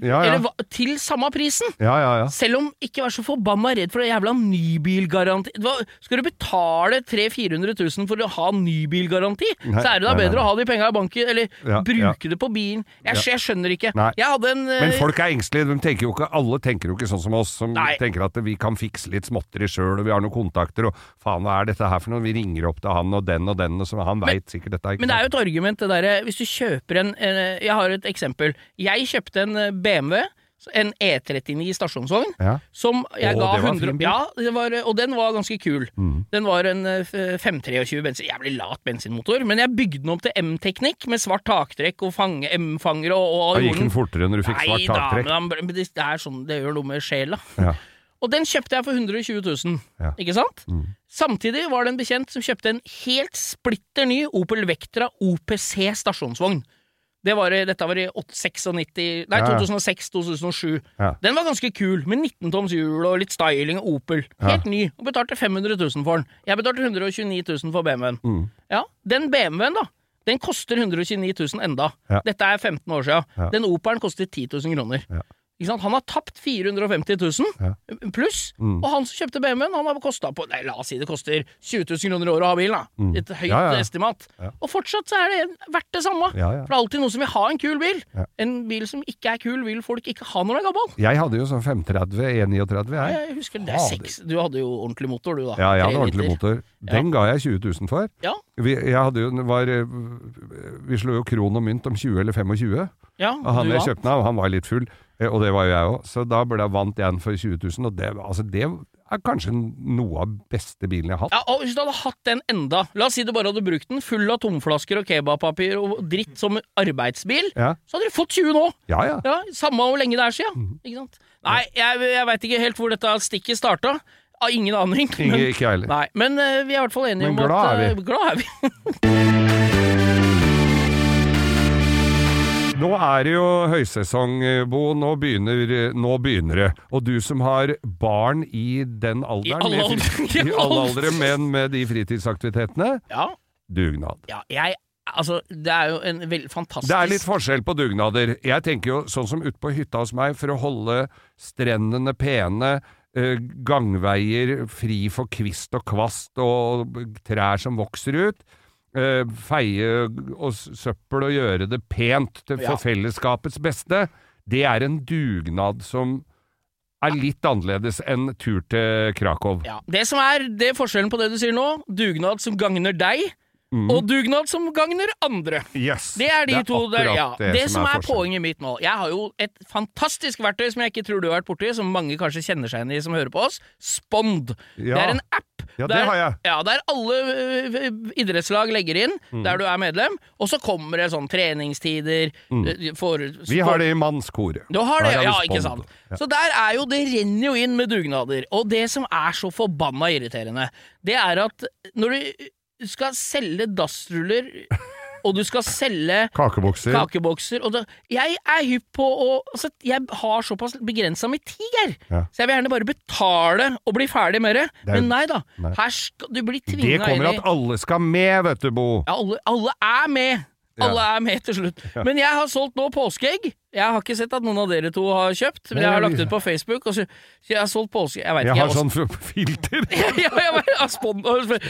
Speaker 2: Ja, ja.
Speaker 3: eller hva- til samme prisen!
Speaker 2: ja, ja, ja.
Speaker 3: Selv om ikke vær så forbanna redd for det jævla nybilgaranti Hva- Skal du betale 300 000-400 000 for å ha nybilgaranti,
Speaker 2: Nei,
Speaker 3: så er det
Speaker 2: nei,
Speaker 3: da
Speaker 2: nei,
Speaker 3: bedre å ha de penga i banken, eller
Speaker 2: Ja,
Speaker 3: bruke det på bilen. Jeg, jeg skjønner ikke.
Speaker 2: Nei.
Speaker 3: Jeg hadde en eh,
Speaker 2: Men folk er engstelige. De tenker jo ikke, alle tenker jo ikke sånn som oss, som
Speaker 3: Nei.
Speaker 2: tenker at vi kan fikse litt småtteri sjøl, og vi har noen kontakter, og faen, hva er dette her for noe? Vi ringer opp til han og den og den, og så han veit sikkert dette. Ikke
Speaker 3: Men det er jo et argument, det derre Hvis du kjøper en eh, Jeg har et eksempel. Jeg kjøpte en eh, BMW en E39 stasjonsvogn,
Speaker 2: Ja.
Speaker 3: som jeg
Speaker 2: Å,
Speaker 3: ga
Speaker 2: det var en
Speaker 3: 100
Speaker 2: fin bil. Mm.
Speaker 3: Ja, det var, og den var ganske kul. Den var en eh, f- 523 bensin, jævlig lat bensinmotor, men jeg bygde den opp til M-teknikk med svart taktrekk og fange- M-fangere og, og
Speaker 2: Da
Speaker 3: gjorde
Speaker 2: gikk den fortere når du fikk svart
Speaker 3: Nei
Speaker 2: taktrekk.
Speaker 3: da, men han- men det, det er sånn det gjør noe med sjela.
Speaker 2: Ja.
Speaker 3: Og den kjøpte jeg for 120 000,
Speaker 2: Ja. Mm.
Speaker 3: ikke sant? Samtidig var det en bekjent som kjøpte en helt splitter ny Opel Vectra OPC stasjonsvogn. Det var, i- dette var i 8- 96, nei,
Speaker 2: Ja, ja.
Speaker 3: 2006-2007.
Speaker 2: Ja.
Speaker 3: Den var ganske kul, med 19 toms hjul og litt styling og Opel. Helt ny, og betalte 500 000 for den. Jeg betalte 129 000 for BMW-en.
Speaker 2: Mm.
Speaker 3: Ja, den BMW-en, da, den koster 129 000 enda.
Speaker 2: Ja.
Speaker 3: Dette er 15 år siden.
Speaker 2: Ja.
Speaker 3: Den Opelen koster 10 000 kroner.
Speaker 2: Ja.
Speaker 3: Ikke sant? Han har tapt 450 000 pluss,
Speaker 2: Mm.
Speaker 3: og han som kjøpte BMW-en, han har kosta på Nei, la oss si det koster 20 000 kroner i året å ha bilen, da. Et høyt
Speaker 2: Mm. Ja, ja.
Speaker 3: estimat. Og fortsatt så er det verdt det samme.
Speaker 2: Ja, ja.
Speaker 3: For det er alltid noen som vil ha en kul bil.
Speaker 2: Ja.
Speaker 3: En bil som ikke er kul, vil folk ikke ha når den er gammel.
Speaker 2: Jeg hadde jo sånn 530, 139 jeg.
Speaker 3: Jeg husker det er
Speaker 2: Fader.
Speaker 3: seks Du hadde jo ordentlig motor, du, da.
Speaker 2: Ja, jeg hadde
Speaker 3: Tre
Speaker 2: ordentlig
Speaker 3: liter.
Speaker 2: motor. Den ga jeg 20 000 for.
Speaker 3: Ja,
Speaker 2: Vi, jeg hadde jo, var, eh, vi slo jo kron og mynt om 20 eller 25.
Speaker 3: ja
Speaker 2: Og han
Speaker 3: du
Speaker 2: jeg
Speaker 3: vant.
Speaker 2: kjøpte den av, han var litt full, eh, og det var jo jeg òg. Så da ble, vant jeg den for 20 000, og det, altså, det er kanskje noe av beste bilen jeg har hatt.
Speaker 3: Ja, og Hvis du hadde hatt den enda La oss si du bare hadde brukt den full av tomflasker og kebabpapir og dritt som arbeidsbil,
Speaker 2: Ja,
Speaker 3: så hadde du fått 20 nå!
Speaker 2: ja. ja.
Speaker 3: Ja, Samme hvor lenge det er siden.
Speaker 2: Mhm.
Speaker 3: Ikke sant? Nei, jeg, jeg veit ikke helt hvor dette stikket starta. Av ingen aning.
Speaker 2: Ingen, ikke jeg heller.
Speaker 3: nei, men eh, vi er i hvert fall enige
Speaker 2: Men
Speaker 3: om
Speaker 2: glad
Speaker 3: at
Speaker 2: er
Speaker 3: eh,
Speaker 2: vi.
Speaker 3: Glad er vi.
Speaker 2: Nå er det jo høysesong, eh, Bo. Nå begynner, eh, nå begynner det. Og du som har barn i den alderen,
Speaker 3: alle
Speaker 2: med fri-
Speaker 3: aldre-
Speaker 2: i alle aldre men med de fritidsaktivitetene,
Speaker 3: ja,
Speaker 2: dugnad.
Speaker 3: ja, jeg Altså, det er jo en vel, fantastisk
Speaker 2: Det er litt forskjell på dugnader. Jeg tenker jo sånn som ute på hytta hos meg, for å holde strendene pene, eh, gangveier fri for kvist og kvast og trær som vokser ut, eh, feie og s- søppel og gjøre det pent til, for
Speaker 3: Ja.
Speaker 2: fellesskapets beste, det er en dugnad som er litt annerledes enn tur til Krakow.
Speaker 3: ja, Det som er det er forskjellen på det du sier nå, dugnad som gagner deg,
Speaker 2: Mhm.
Speaker 3: og dugnad som gagner andre.
Speaker 2: Yes,
Speaker 3: Det er de to der,
Speaker 2: akkurat
Speaker 3: ja. Det, som er,
Speaker 2: forskjellen.
Speaker 3: poenget mitt nå. Jeg har jo et fantastisk verktøy som jeg ikke tror du har vært borti, som mange kanskje kjenner seg igjen i som hører på oss. Spond.
Speaker 2: Ja.
Speaker 3: Det er en app.
Speaker 2: Ja, det
Speaker 3: der,
Speaker 2: har jeg.
Speaker 3: Ja, der alle ø, ø, idrettslag legger inn,
Speaker 2: Mm.
Speaker 3: der du er medlem, og så kommer det sånn treningstider ø, for,
Speaker 2: Mm. Vi har det i mannskoret.
Speaker 3: du har
Speaker 2: Der
Speaker 3: det,
Speaker 2: er
Speaker 3: ja,
Speaker 2: Spond.
Speaker 3: ikke sant. Så der er jo, det renner jo inn med dugnader. Og det som er så forbanna irriterende, det er at når du skal selge dassruller, og du skal selge
Speaker 2: Kakebokser.
Speaker 3: kakebokser og da, Jeg er hypp på å altså, Jeg har såpass begrensa med tid her,
Speaker 2: Ja.
Speaker 3: så jeg vil gjerne bare betale og bli ferdig med det.
Speaker 2: er jo-
Speaker 3: Men nei da.
Speaker 2: nei.
Speaker 3: Her skal du bli
Speaker 2: Det
Speaker 3: tvinga inn
Speaker 2: kommer
Speaker 3: i
Speaker 2: at alle skal med, vet du, Bo.
Speaker 3: ja, alle, alle er med! Alle er med til slutt. Men jeg har solgt nå påskeegg. Jeg har ikke sett at noen av dere to har kjøpt,
Speaker 2: Nei,
Speaker 3: men jeg har
Speaker 2: jeg-
Speaker 3: lagt ut på Facebook. Og så, så jeg har solgt påskeegg Jeg veit
Speaker 2: Jeg
Speaker 3: ikke.
Speaker 2: har
Speaker 3: jeg også-
Speaker 2: sånn f- filter.
Speaker 3: ja, jeg har- jeg har, spon- har,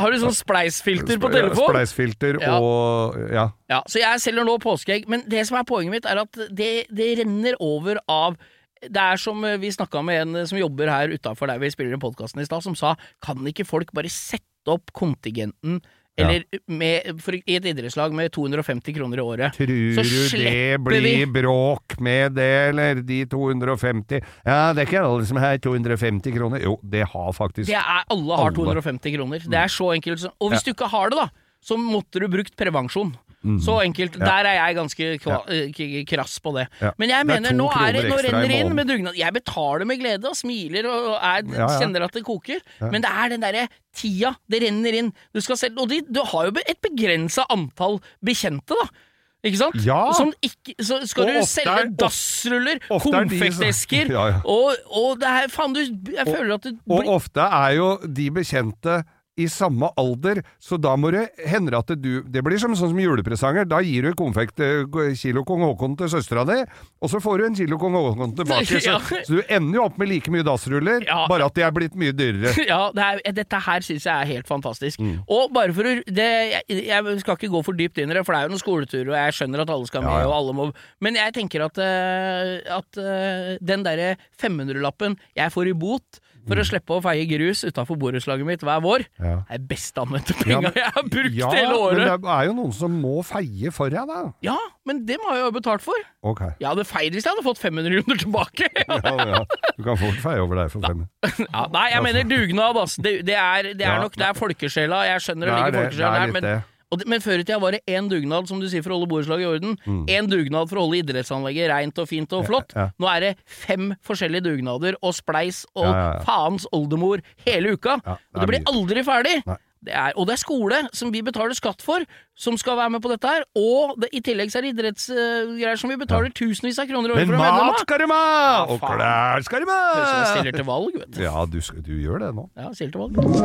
Speaker 3: har du sånn spleisfilter på telefonen?
Speaker 2: Spleisfilter
Speaker 3: Ja.
Speaker 2: og ja.
Speaker 3: Ja, så jeg selger nå påskeegg, men det som er poenget mitt er at det, det renner over av det er som eh, vi snakka med en eh, som jobber her utafor der vi spiller podkasten i stad, som sa kan ikke folk bare sette opp kontingenten eller med, for, i et idrettslag med 250 kroner i året?
Speaker 2: Tror
Speaker 3: Så
Speaker 2: du det
Speaker 3: slipper
Speaker 2: blir
Speaker 3: vi.
Speaker 2: bråk med det, eller de 250 Ja, det er ikke alle som har 250 kroner. Jo, det har faktisk
Speaker 3: Det er, alle har
Speaker 2: Alle. Mm.
Speaker 3: 250 kroner. Det er så enkelt. som- Og hvis du ikke har det, da, så måtte du brukt prevensjon.
Speaker 2: Mm.
Speaker 3: Så enkelt. Der er jeg ganske kva, eh, k- krass på det.
Speaker 2: Ja.
Speaker 3: Men jeg
Speaker 2: Det er
Speaker 3: mener,
Speaker 2: to
Speaker 3: nå, er det,
Speaker 2: kroner
Speaker 3: nå
Speaker 2: ekstra i
Speaker 3: renner det inn
Speaker 2: måneden.
Speaker 3: med dugnad. Jeg betaler med glede og smiler og og er,
Speaker 2: Ja, ja.
Speaker 3: kjenner at det koker, men det er den derre tida. Det renner inn. Du skal selv, og de, du har jo be- et begrensa antall bekjente, da. Ikke sant?
Speaker 2: Ja.
Speaker 3: Som ikke, så skal
Speaker 2: Og
Speaker 3: du
Speaker 2: ofte
Speaker 3: selge
Speaker 2: er-
Speaker 3: dassruller,
Speaker 2: ofte er de som-
Speaker 3: konfektesker,
Speaker 2: Ja, ja.
Speaker 3: og, og det er Faen, du Jeg føler at du
Speaker 2: Og ofte er jo de bekjente i samme alder, så da må det hende at du Det blir som sånn som julepresanger. Da gir du konfekt eh, kilo kong Haakon til søstera di, og så får du en kilo kong Haakon tilbake. Så,
Speaker 3: Ja.
Speaker 2: så du ender jo opp med like mye dassruller,
Speaker 3: Ja.
Speaker 2: bare at de er blitt mye dyrere.
Speaker 3: Ja, det er, dette her syns jeg er helt fantastisk.
Speaker 2: Mm.
Speaker 3: Og bare for å det, jeg, jeg skal ikke gå for dypt inn i det, for det er jo noen skoleturer, og jeg skjønner at alle skal med,
Speaker 2: Ja, ja.
Speaker 3: og alle må Men jeg tenker at, eh, at eh, den derre 500-lappen jeg får i bot for å slippe å feie grus utafor borettslaget mitt hver vår.
Speaker 2: Mm. Ja.
Speaker 3: Det er best anvendte
Speaker 2: Ja,
Speaker 3: penga
Speaker 2: men-
Speaker 3: jeg har brukt
Speaker 2: Ja,
Speaker 3: hele året!
Speaker 2: men det er jo noen som må feie for deg, da.
Speaker 3: Ja, men dem har jeg jo betalt for.
Speaker 2: Ok.
Speaker 3: Jeg hadde feid hvis jeg hadde fått 500 kroner tilbake. ja,
Speaker 2: Ja, ja. Du kan fort feie over deg for fem.
Speaker 3: nei, jeg mener dugnad, altså. Det, det er, det er
Speaker 2: Ja,
Speaker 3: nok det er folkesjela. Jeg skjønner
Speaker 2: Det
Speaker 3: det,
Speaker 2: er det,
Speaker 3: ligger
Speaker 2: det er
Speaker 3: folkesjela der,
Speaker 2: litt
Speaker 3: men,
Speaker 2: det.
Speaker 3: og det- men før i tida var det én dugnad, som du sier, for å holde borettslaget i orden. Én dugnad for å holde idrettsanlegget reint og fint og flott.
Speaker 2: Mm. ja.
Speaker 3: Nå er det fem forskjellige dugnader og spleis og
Speaker 2: Ja, ja, ja.
Speaker 3: faens oldemor hele uka.
Speaker 2: Ja, det
Speaker 3: og det
Speaker 2: er
Speaker 3: blir aldri ferdig.
Speaker 2: Nei.
Speaker 3: Det er, og det er skole, som vi betaler skatt for, som skal være med på dette her. Og det, i tillegg så er det idrettsgreier som vi betaler tusenvis av kroner i
Speaker 2: Men
Speaker 3: året for å være medlem av.
Speaker 2: mat skal du med! Og
Speaker 3: faen.
Speaker 2: klær skal du
Speaker 3: Høres ut som jeg
Speaker 2: med!
Speaker 3: stiller til valg, vet du.
Speaker 2: Ja, du, skal- du gjør det nå.
Speaker 3: Ja, stiller til valg.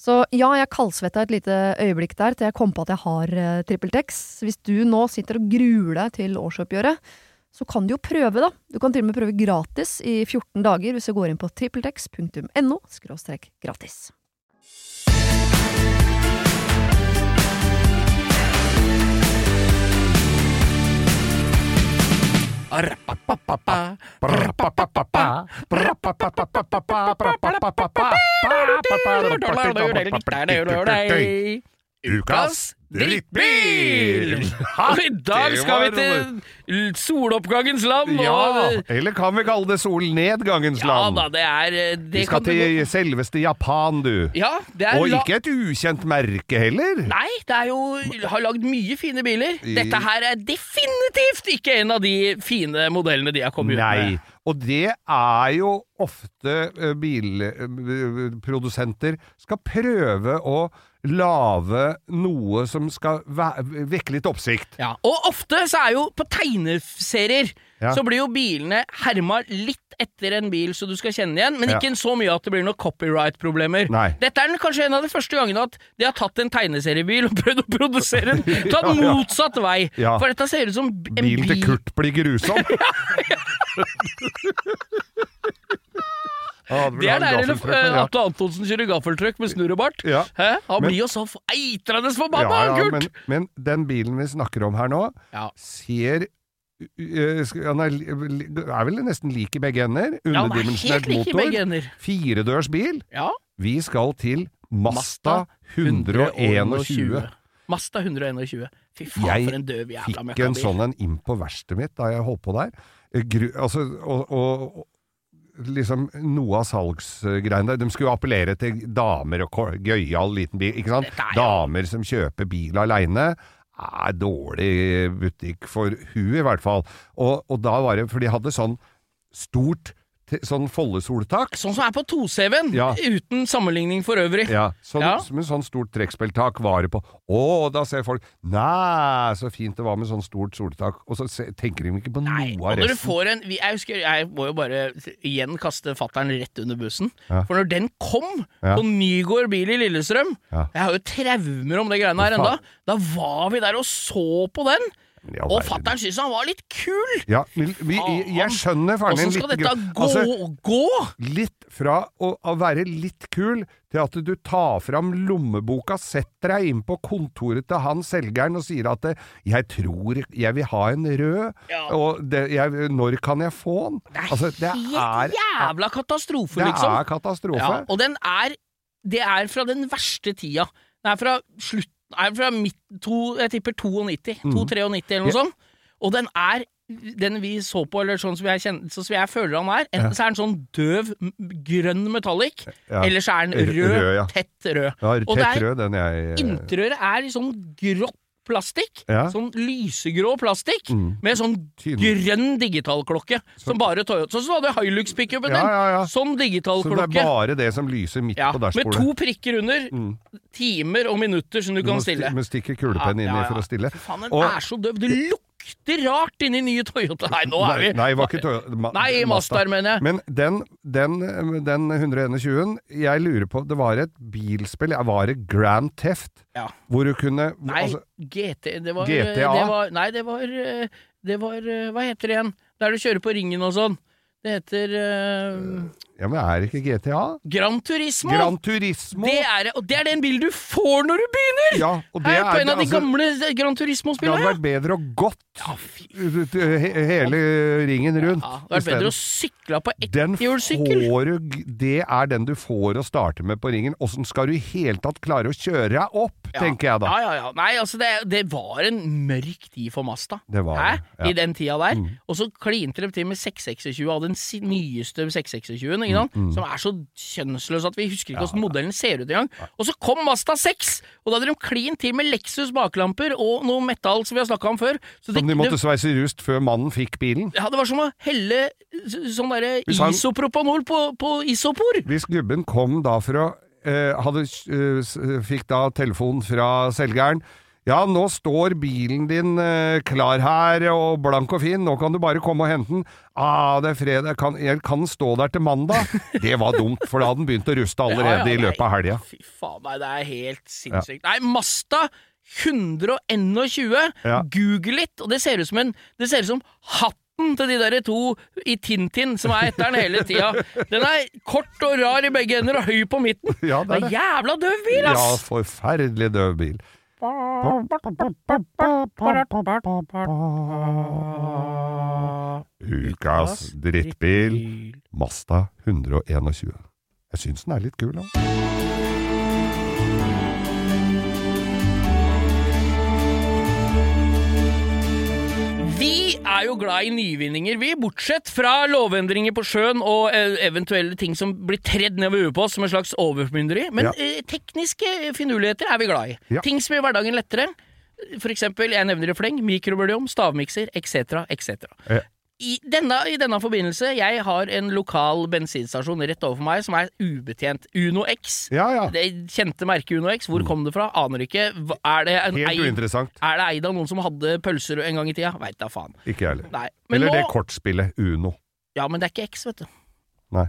Speaker 4: Så ja, jeg kaldsvetta et lite øyeblikk der til jeg kom på at jeg har eh, TrippelTex. Hvis du nå sitter og gruer deg til årsoppgjøret, så kan du jo prøve, da. Du kan til og med prøve gratis i 14 dager hvis du går inn på trippeltex.no – gratis.
Speaker 3: Arrapapapapa. Ukas drittbil! Og I dag skal vi til soloppgangens land.
Speaker 2: Ja,
Speaker 3: Og,
Speaker 2: eller kan vi kalle det solnedgangens
Speaker 3: ja da,
Speaker 2: land?
Speaker 3: det er eh,
Speaker 2: Vi
Speaker 3: det
Speaker 2: skal
Speaker 3: kan du godt-
Speaker 2: til selveste Japan, du.
Speaker 3: Ja, det er
Speaker 2: Og
Speaker 3: la-
Speaker 2: ikke et ukjent merke heller.
Speaker 3: Nei, det er jo har lagd mye fine biler.
Speaker 2: I-
Speaker 3: Dette her er definitivt ikke en av de fine modellene de har kommet ut
Speaker 2: Nei.
Speaker 3: med.
Speaker 2: Og det er jo ofte bilprodusenter skal prøve å lage noe som skal væ- vekke litt oppsikt.
Speaker 3: Ja, og ofte så er jo på tegneserier
Speaker 2: Ja.
Speaker 3: så blir jo bilene herma litt etter en bil så du skal kjenne igjen, men
Speaker 2: Ja.
Speaker 3: ikke så mye at det blir noen copyright-problemer.
Speaker 2: Nei.
Speaker 3: Dette er den, kanskje en av de første gangene at de har tatt en tegneseriebil og prøvd å produsere den tatt
Speaker 2: Ja, ja.
Speaker 3: motsatt vei.
Speaker 2: Ja.
Speaker 3: For dette ser ut som b- en
Speaker 2: Bilen til
Speaker 3: bil-
Speaker 2: Kurt blir grusom. Ja,
Speaker 3: Det er
Speaker 2: vel gaffeltruck,
Speaker 3: der eh,
Speaker 2: men ja.
Speaker 3: Atle Antonsen kjører gaffeltruck med snurr og bart.
Speaker 2: Ja.
Speaker 3: Hæ? Han
Speaker 2: Men-
Speaker 3: blir jo så f- eitrende forbanna, Kurt!
Speaker 2: men, men den bilen vi snakker om her nå,
Speaker 3: Ja.
Speaker 2: ser øh, sk- han er, li- er vel nesten lik i begge ender.
Speaker 3: ja, han er helt
Speaker 2: Underdimensjonert
Speaker 3: lik i begge
Speaker 2: motor.
Speaker 3: ender.
Speaker 2: Firedørs bil.
Speaker 3: Ja.
Speaker 2: Vi skal til Masta 121.
Speaker 3: Masta 121. Fy faen,
Speaker 2: Jeg
Speaker 3: for en døv jævla
Speaker 2: Fikk en
Speaker 3: møkkabil.
Speaker 2: sånn en inn på verkstedet mitt da jeg holdt på der. Eh, Gru, altså, og, og, og liksom noe av salgsgreiene der De skulle jo appellere til damer og ko- gøyal liten bil, ikke sant?
Speaker 3: Dette er jo-
Speaker 2: Damer som kjøper bil aleine. Er dårlig butikk for hun, i hvert fall. Og, og da var det For de hadde sånn stort te- Sånn foldesoltak.
Speaker 3: Sånn som er på 2CV-en,
Speaker 2: Ja.
Speaker 3: uten sammenligning for øvrig.
Speaker 2: Ja, sånn,
Speaker 3: Ja.
Speaker 2: Med sånn stort trekkspilltak var det på. Å, da ser folk Nei, så fint det var med sånn stort soltak. Og så se, tenker de ikke på
Speaker 3: Nei,
Speaker 2: noe
Speaker 3: og
Speaker 2: av
Speaker 3: når du
Speaker 2: resten.
Speaker 3: får en vi- Jeg husker, jeg må jo bare igjen kaste fattern rett under bussen.
Speaker 2: Ja.
Speaker 3: For når den kom
Speaker 2: Ja.
Speaker 3: på Nygård bil i Lillestrøm
Speaker 2: Ja.
Speaker 3: Jeg har jo traumer om de greiene her
Speaker 2: Hva
Speaker 3: enda. Da var vi der og så på den.
Speaker 2: Ja,
Speaker 3: Og
Speaker 2: verden.
Speaker 3: fattern syntes han var litt kul!
Speaker 2: Ja, men vi, jeg- jeg skjønner faren din litt.
Speaker 3: Åssen skal dette
Speaker 2: grann.
Speaker 3: gå?
Speaker 2: Altså,
Speaker 3: gå?
Speaker 2: litt fra å, å være litt kul til at du tar fram lommeboka, setter deg inn på kontoret til han selgeren og sier at eh, 'jeg tror jeg vil ha en rød',
Speaker 3: Ja.
Speaker 2: og det, jeg, 'når kan jeg få den'?
Speaker 3: Det er
Speaker 2: Altså, det er,
Speaker 3: Helt jævla katastrofe,
Speaker 2: det
Speaker 3: liksom.
Speaker 2: er katastrofe.
Speaker 3: Ja, og den er Det er fra den verste tida. Den er fra slutt er fra midt, to, Jeg tipper 92. 293 eller noe
Speaker 2: Mm. Ja.
Speaker 3: sånt. Og den er den vi så på, eller sånn som jeg, kjenner, sånn som jeg føler han er Enten så er den sånn døv, m- grønn metallic,
Speaker 2: Ja.
Speaker 3: eller så er den
Speaker 2: R-
Speaker 3: rød,
Speaker 2: rød, ja.
Speaker 3: tett rød.
Speaker 2: Ja,
Speaker 3: og det
Speaker 2: tett
Speaker 3: er,
Speaker 2: rød, den jeg eh,
Speaker 3: Interiøret er i sånn grått plastikk.
Speaker 2: Ja. Mm.
Speaker 3: Sånn lysegrå plastikk, med sånn
Speaker 2: Tynn.
Speaker 3: grønn digitalklokke. Som bare Toyota Sånn som du hadde Hilux-pickupen
Speaker 2: Ja,
Speaker 3: din!
Speaker 2: ja, ja.
Speaker 3: Sånn
Speaker 2: Så det er
Speaker 3: digitalklokke.
Speaker 2: bare det som lyser midt
Speaker 3: Ja,
Speaker 2: på
Speaker 3: med
Speaker 2: dashbordet. Mm.
Speaker 3: to prikker under, timer og minutter som du
Speaker 2: Du må
Speaker 3: kan
Speaker 2: sti-
Speaker 3: stille.
Speaker 2: Må stikke kulepennen inni
Speaker 3: Ja, ja, ja.
Speaker 2: for å stille.
Speaker 3: Fy Faen, den
Speaker 2: Og-
Speaker 3: er så døv. Det lukter rart inni nye Toyota. Nei, nå er
Speaker 2: Nei,
Speaker 3: vi
Speaker 2: nei, det var ikke Toyota. Ma-
Speaker 3: Nei, Mazda, mener jeg.
Speaker 2: Men den, den, eh, den 121, jeg lurer på Det var et bilspill, ja, var det Grand Theft?
Speaker 3: Ja.
Speaker 2: Hvor du kunne
Speaker 3: Nei,
Speaker 2: altså,
Speaker 3: GT det var, eh,
Speaker 2: GTA?
Speaker 3: Det var, nei, det var eh, Det var eh, Hva heter det igjen? Der du kjører på ringen og sånn. Det heter eh,
Speaker 2: Ja, men er det ikke GTA?
Speaker 3: Gran Turismo!
Speaker 2: Gran Turismo!
Speaker 3: det er, det, og det er den bilen du får når du begynner!
Speaker 2: ja, og det
Speaker 3: Her på
Speaker 2: er
Speaker 3: en av de
Speaker 2: altså,
Speaker 3: gamle Gran
Speaker 2: Det hadde
Speaker 3: Turismo-spillene.
Speaker 2: vært bedre og gått
Speaker 3: Ja, fy
Speaker 2: he- hele ringen rundt.
Speaker 3: Ja, det hadde vært bedre å
Speaker 2: isteden.
Speaker 3: sykle på
Speaker 2: den
Speaker 3: etthjulssykkel.
Speaker 2: får du, g- det er den du får å starte med på ringen. Åssen skal du i hele tatt klare å kjøre deg opp, tenker jeg da.
Speaker 3: Ja, ja, ja. Nei, altså, det, det var en mørk tid for Mazda.
Speaker 2: Det var
Speaker 3: Hæ?
Speaker 2: det, ja. Mm.
Speaker 3: I den tida der. Og så klinte de til med 626 av den si- nyeste 626-en, ikke
Speaker 2: Mm,
Speaker 3: sant? som er så kjønnsløs at vi husker ikke åssen modellen ser ut engang. Og så kom Mazda 6, og da hadde de klint til med Lexus baklamper og noe metall som vi har snakka om før. Så det,
Speaker 2: Som de måtte
Speaker 3: det,
Speaker 2: sveise i rust før mannen fikk bilen.
Speaker 3: ja, det var som å helle s- sånn derre
Speaker 2: Hvis han-
Speaker 3: isopropanol på, på isopor!
Speaker 2: Hvis gubben kom da for å eh, hadde, eh, s- Fikk da telefon fra selgeren. Ja, nå står bilen din eh, klar her og blank og fin, nå kan du bare komme og hente den. Ah, det er fredag, kan, jeg kan stå der til mandag. Det var dumt, for da hadde den begynt å ruste allerede
Speaker 3: Ja, ja,
Speaker 2: i løpet av
Speaker 3: nei,
Speaker 2: helga.
Speaker 3: Fy faen meg, det er helt sinnssykt. Nei, Masta 121,
Speaker 2: Ja.
Speaker 3: google litt, og det ser ut som en Det ser ut som hatten til de der to i Tintin som er etter den hele tida. Den er kort og rar i begge ender og høy på midten.
Speaker 2: Ja, det er det.
Speaker 3: jævla døv bil,
Speaker 2: Ja,
Speaker 3: ass!
Speaker 2: forferdelig døv bil. Ukas drittbil, Mazda 121. Jeg syns den er litt kul, da.
Speaker 3: Vi er jo glad i nyvinninger, vi, bortsett fra lovendringer på sjøen og eh, eventuelle ting som blir tredd ned over huet på oss som en slags overformynderi. Men
Speaker 2: Ja.
Speaker 3: eh, tekniske finurligheter er vi glad i.
Speaker 2: Ja.
Speaker 3: Ting som gjør hverdagen lettere. For eksempel, jeg nevner i fleng, mikrobølgeovn, stavmikser, etc., etc.
Speaker 2: Ja.
Speaker 3: I denne, I denne forbindelse, jeg har en lokal bensinstasjon rett overfor meg som er ubetjent. Uno X.
Speaker 2: Ja, ja. Mm.
Speaker 3: Det kjente merket Uno X. Hvor kom det fra? Aner ikke. Hva- Er det, en
Speaker 2: Helt
Speaker 3: eid,
Speaker 2: uinteressant.
Speaker 3: er det eid av noen som hadde pølser en gang i tida? Veit da faen.
Speaker 2: Ikke jeg heller.
Speaker 3: Nei. Men
Speaker 2: Eller
Speaker 3: nå,
Speaker 2: det kortspillet Uno.
Speaker 3: Ja, men det er ikke X, vet du.
Speaker 2: Nei.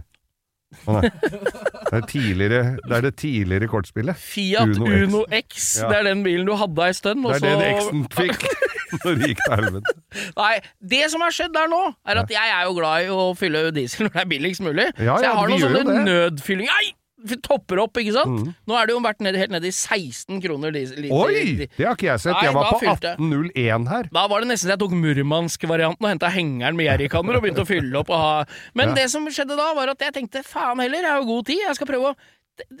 Speaker 2: Å nei. Det er, tidligere, det er det tidligere kortspillet.
Speaker 3: Fiat
Speaker 2: Uno
Speaker 3: Uno
Speaker 2: X.
Speaker 3: X.
Speaker 2: Ja.
Speaker 3: Det er den bilen du hadde ei stund.
Speaker 2: Det
Speaker 3: og
Speaker 2: er den
Speaker 3: så-
Speaker 2: X-en fikk når det gikk til helvete.
Speaker 3: Nei, det som har skjedd der nå, er at jeg er jo glad i å fylle diesel når det er billigst mulig.
Speaker 2: Ja,
Speaker 3: så jeg
Speaker 2: ja,
Speaker 3: har
Speaker 2: vi
Speaker 3: noen
Speaker 2: gjør jo Mm.
Speaker 3: sånne nødfylling Nei! f- Topper opp, ikke sant? Nå er det jo vært ned, helt nede i 16 kroner diesel. liter-
Speaker 2: Oi! Det har ikke jeg sett.
Speaker 3: Nei,
Speaker 2: Jeg var
Speaker 3: da
Speaker 2: på
Speaker 3: fylte jeg.
Speaker 2: 1801 her.
Speaker 3: Da var det nesten så jeg tok Murmansk-varianten og henta hengeren med jerrykanner og begynte å fylle opp. Og ha. Men det som skjedde da, var at jeg tenkte faen heller, jeg har jo god tid, jeg skal prøve å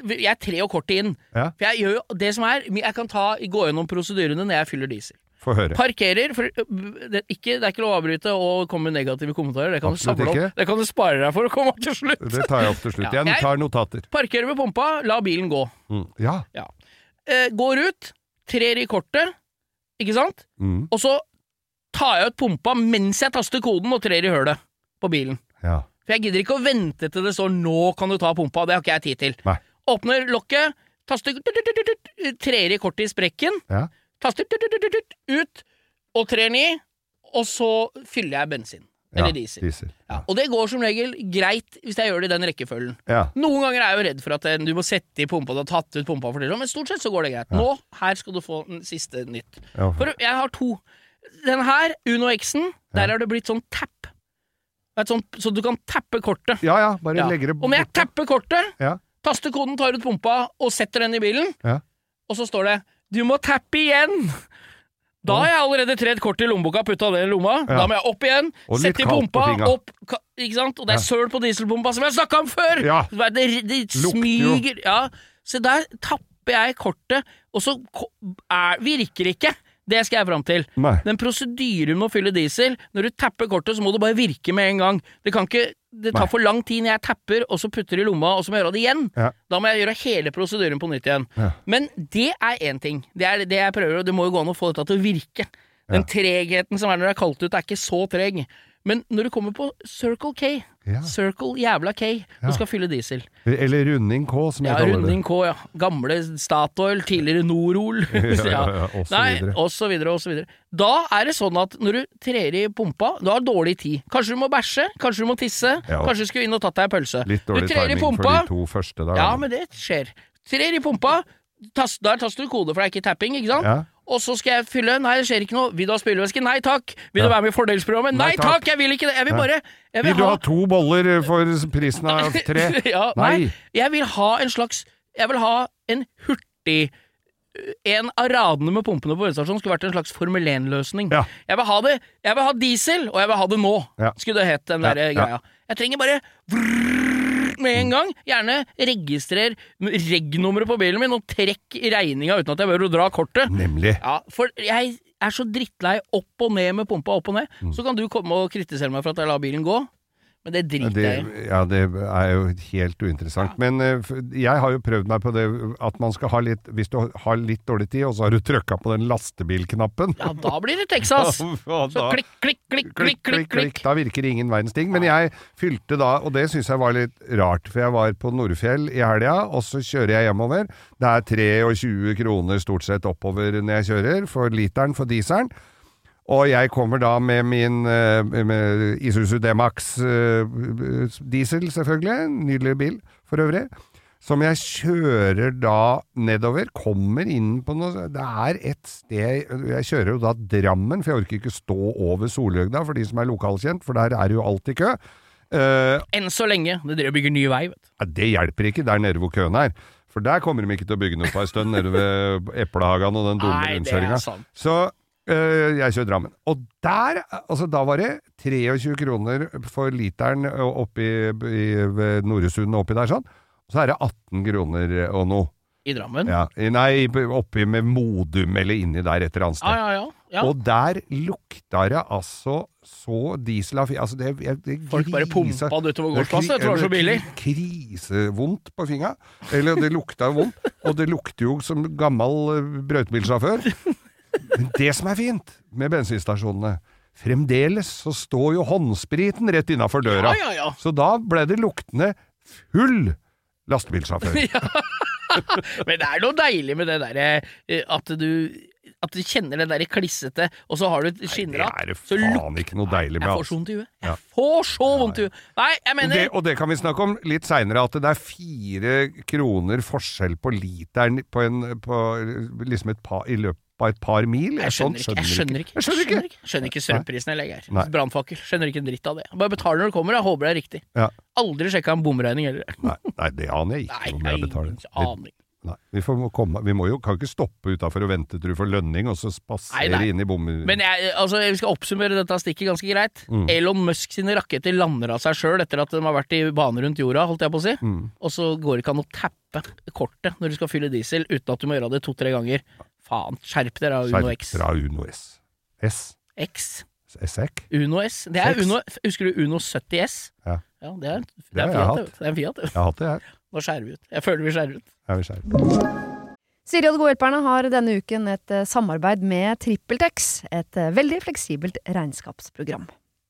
Speaker 3: Jeg er tre og kortet inn.
Speaker 2: Ja.
Speaker 3: For jeg gjør jo det som er Jeg kan ta, gå gjennom prosedyrene når jeg fyller diesel.
Speaker 2: Få høre.
Speaker 3: Parkerer for, øh, det, er ikke, det er ikke lov å avbryte og komme med negative kommentarer. Det kan, du
Speaker 2: Absolutt
Speaker 3: samle
Speaker 2: ikke.
Speaker 3: opp, det kan du spare deg for å komme til slutt.
Speaker 2: Det tar jeg opp til slutt.
Speaker 3: Ja.
Speaker 2: Jeg tar notater.
Speaker 3: Parkerer ved pumpa, la bilen gå.
Speaker 2: Mm. Ja.
Speaker 3: Ja. Eh, går ut, trer i kortet, ikke sant?
Speaker 2: Mm.
Speaker 3: Og så tar jeg ut pumpa mens jeg taster koden og trer i hølet på bilen.
Speaker 2: ja.
Speaker 3: For jeg gidder ikke å vente til det står 'nå kan du ta pumpa', det har ikke jeg tid til.
Speaker 2: Nei.
Speaker 3: Åpner lokket, taster tut, tut, tut, tut, Trer i kortet i sprekken,
Speaker 2: Ja.
Speaker 3: taster tut, tut, tut, tut, ut, og trer den i, og så fyller jeg bensin.
Speaker 2: ja.
Speaker 3: Eller diesel. Ja. Og det går som regel greit hvis jeg gjør det i den rekkefølgen.
Speaker 2: Ja.
Speaker 3: Noen ganger er jeg jo redd for at eh, du må sette i pumpa, du har tatt ut pumpa, for det, men stort sett så går det greit. Nå, her skal du få den siste nytt.
Speaker 2: Ja.
Speaker 3: For jeg har to. Den her, Uno X-en, der er det blitt sånn tap. Det er et sånt, så du kan tappe kortet.
Speaker 2: Ja ja, bare
Speaker 3: Ja.
Speaker 2: legger det
Speaker 3: Om jeg tapper kortet,
Speaker 2: Ja.
Speaker 3: taster koden, tar ut pumpa og setter den i bilen,
Speaker 2: Ja.
Speaker 3: og så står det 'du må tappe igjen'. Da har jeg allerede tredd kortet i lommeboka og putta det i lomma.
Speaker 2: Ja.
Speaker 3: Da må jeg opp igjen,
Speaker 2: Og litt
Speaker 3: sette i
Speaker 2: kaldt på
Speaker 3: pumpa,
Speaker 2: fingra.
Speaker 3: opp ka, Ikke sant? Og
Speaker 2: Ja.
Speaker 3: det er søl på dieselpumpa, som jeg snakka om før!
Speaker 2: Ja.
Speaker 3: Det, er- det, det
Speaker 2: Lukter jo.
Speaker 3: smyger Ja. Se, der tapper jeg kortet, og så ko- er, virker ikke. Det skal jeg fram til.
Speaker 2: Nei.
Speaker 3: Den prosedyren med å fylle diesel Når du tapper kortet, så må det bare virke med en gang. Det kan ikke Det tar
Speaker 2: Nei.
Speaker 3: for lang tid når jeg tapper, og så putter det i lomma, og så må jeg gjøre det igjen.
Speaker 2: Ja.
Speaker 3: Da må jeg gjøre hele prosedyren på nytt igjen.
Speaker 2: Ja.
Speaker 3: Men det er én ting. Det er det jeg prøver, og det må jo gå an å få dette til å virke. Den tregheten som er når det er kaldt ute, er ikke så treg. Men når du kommer på Circle K,
Speaker 2: Ja.
Speaker 3: Circle jævla K,
Speaker 2: Ja.
Speaker 3: og skal fylle diesel
Speaker 2: Eller Runding K, som jeg
Speaker 3: Ja,
Speaker 2: kaller
Speaker 3: Runding K, ja. Gamle Statoil, tidligere Norol.
Speaker 2: det. Ja, ja, ja, og så
Speaker 3: Nei,
Speaker 2: videre.
Speaker 3: og så videre, og så videre. Da er det sånn at når du trer i pumpa, du har dårlig tid. Kanskje du må bæsje, kanskje du må tisse,
Speaker 2: Ja.
Speaker 3: kanskje du skulle inn og tatt deg en pølse.
Speaker 2: Litt
Speaker 3: du
Speaker 2: dårlig
Speaker 3: trer i
Speaker 2: timing for
Speaker 3: pumpa,
Speaker 2: de to første der.
Speaker 3: ja,
Speaker 2: da.
Speaker 3: men det skjer. Trer i pumpa, tas, der taster du kode, for det er ikke tapping, ikke sant?
Speaker 2: ja.
Speaker 3: Og så skal jeg fylle, nei det skjer ikke noe, vil du ha spylevæske? Nei takk. Vil du
Speaker 2: Ja.
Speaker 3: være med i fordelsprogrammet? Nei,
Speaker 2: Nei, takk.
Speaker 3: takk, jeg vil ikke det, jeg vil
Speaker 2: Ja.
Speaker 3: bare, jeg
Speaker 2: Vil
Speaker 3: vil
Speaker 2: du
Speaker 3: ha
Speaker 2: ha to boller for prisen av tre?
Speaker 3: ja, nei.
Speaker 2: Nei.
Speaker 3: Jeg vil ha en slags Jeg vil ha en hurtig En av radene med pumpene på bensinstasjonen skulle vært en slags Formel 1-løsning.
Speaker 2: Ja.
Speaker 3: Jeg vil ha det Jeg vil ha diesel, og jeg vil ha det nå,
Speaker 2: Ja.
Speaker 3: skulle det hett, den
Speaker 2: Ja, ja.
Speaker 3: derre greia. Jeg trenger bare vrrrr med en gang. Gjerne registrer reg-nummeret på bilen min, og trekk i regninga uten at jeg behøver å dra kortet.
Speaker 2: Nemlig.
Speaker 3: Ja, for jeg er så drittlei opp og ned med pumpa opp og ned. Så kan du komme og kritisere meg for at jeg lar bilen gå, men det driter
Speaker 2: Det,
Speaker 3: jeg i.
Speaker 2: ja, det er jo helt uinteressant. Men eh, f- jeg har jo prøvd meg på det at man skal ha litt Hvis du har litt dårlig tid, og så har du trøkka på den lastebilknappen
Speaker 3: Ja, da blir det Texas.
Speaker 2: Og
Speaker 3: Så
Speaker 2: da-
Speaker 3: klikk, klikk, klikk, klikk, klikk, klikk.
Speaker 2: Da virker ingen verdens ting. Men jeg fylte da, og det syns jeg var litt rart, for jeg var på Nordfjell i helga, og så kjører jeg hjemover. Det er 23 kroner stort sett oppover når jeg kjører, for literen for dieselen. Og jeg kommer da med min eh, med Isuzu D-Max eh, diesel, selvfølgelig. Nydelig bil, for øvrig. Som jeg kjører da nedover. Kommer inn på noe Det er et sted Jeg kjører jo da Drammen, for jeg orker ikke stå over Solhøgda, for de som er lokalkjent, for der er det jo alltid kø. Eh,
Speaker 3: Enn så lenge. Det driver og bygger ny vei, vet du.
Speaker 2: ja, det hjelper ikke der nede hvor køen er. For der kommer de ikke til å bygge noe på ei stund, nede ved Eplehagan og den dumme
Speaker 3: Nei, det er
Speaker 2: rundkjøringa.
Speaker 3: sant.
Speaker 2: Så øh, jeg kjører Drammen. Og der, altså da var det 23 kroner for literen oppi i, ved Noresund og oppi der sånn. Og så er det 18 kroner og noe.
Speaker 3: I Drammen. Ja,
Speaker 2: Ja, i- nei, oppi med Modum eller inni der et eller annet sted.
Speaker 3: Ah, ja, ja. ja.
Speaker 2: Og der lukta det altså så diesel av fi- altså det, jeg, det
Speaker 3: Folk bare
Speaker 2: grisa-
Speaker 3: pumpa det utover gårdsplassen, jeg tror det var så billig.
Speaker 2: Krisevondt på fingra. Eller det lukta jo vondt. Og det lukter jo som gammel eh, brøytebilsjåfør. Men det som er fint med bensinstasjonene Fremdeles så står jo håndspriten rett innafor døra.
Speaker 3: Ja, ja, ja.
Speaker 2: Så da ble det luktende full lastebilsjåfør.
Speaker 3: Men det er noe deilig med det derre eh, at du at du kjenner det derre klissete, og så har du et
Speaker 2: Det
Speaker 3: skinnratt.
Speaker 2: er det
Speaker 3: så luk-
Speaker 2: faen ikke noe deilig med.
Speaker 3: Jeg får
Speaker 2: altså.
Speaker 3: så vondt i huet.
Speaker 2: Ja.
Speaker 3: Jeg får så vondt i huet. Nei, jeg mener
Speaker 2: det, og det kan vi snakke om litt seinere, at det er fire kroner forskjell på literen på en, på, liksom et par, i løpet av et par mil.
Speaker 3: jeg
Speaker 2: Sånn
Speaker 3: skjønner ikke. Jeg skjønner ikke.
Speaker 2: Jeg skjønner ikke.
Speaker 3: Skjønner ikke strømprisen jeg legger
Speaker 2: Nei.
Speaker 3: her. Brannfakkel. Skjønner ikke en dritt av det. Bare betal når du kommer, jeg håper det er riktig.
Speaker 2: Ja.
Speaker 3: Aldri sjekka en bomregning heller.
Speaker 2: Nei, nei, det aner jeg ikke
Speaker 3: Nei,
Speaker 2: om
Speaker 3: nei,
Speaker 2: jeg betaler.
Speaker 3: ingen
Speaker 2: Det,
Speaker 3: aning.
Speaker 2: nei, vi, får må komme, vi må jo, kan ikke stoppe utafor og vente til du får lønning, og så
Speaker 3: Nei,
Speaker 2: spasere
Speaker 3: nei.
Speaker 2: inn i bommen.
Speaker 3: Men jeg, altså, vi skal oppsummere dette stikket ganske greit.
Speaker 2: Mm.
Speaker 3: Elon Musk sine raketter lander av seg sjøl etter at de har vært i bane rundt jorda, holdt jeg på å si.
Speaker 2: Mm.
Speaker 3: Og så går det ikke an å tappe kortet når du skal fylle diesel, uten at du må gjøre det to-tre ganger. Faen, skjerp dere av Uno
Speaker 2: Skjerp
Speaker 3: X.
Speaker 2: fra Uno S. S. E
Speaker 3: X.
Speaker 2: SEK?
Speaker 3: Uno S. Det er
Speaker 2: Sex.
Speaker 3: Uno, husker du Uno 70 S?
Speaker 2: Ja.
Speaker 3: ja det er, det
Speaker 2: har jeg
Speaker 3: er Fiat,
Speaker 2: hatt.
Speaker 3: det, vet du. det er en Fiat. det.
Speaker 2: Jeg har hatt det, jeg.
Speaker 3: Nå skjærer vi ut. Jeg føler vi skjærer ut.
Speaker 2: Jeg vil skjerpe.
Speaker 4: Siri og de gode hjelperne har denne uken et eh, samarbeid med TrippelTex, et eh, veldig fleksibelt regnskapsprogram.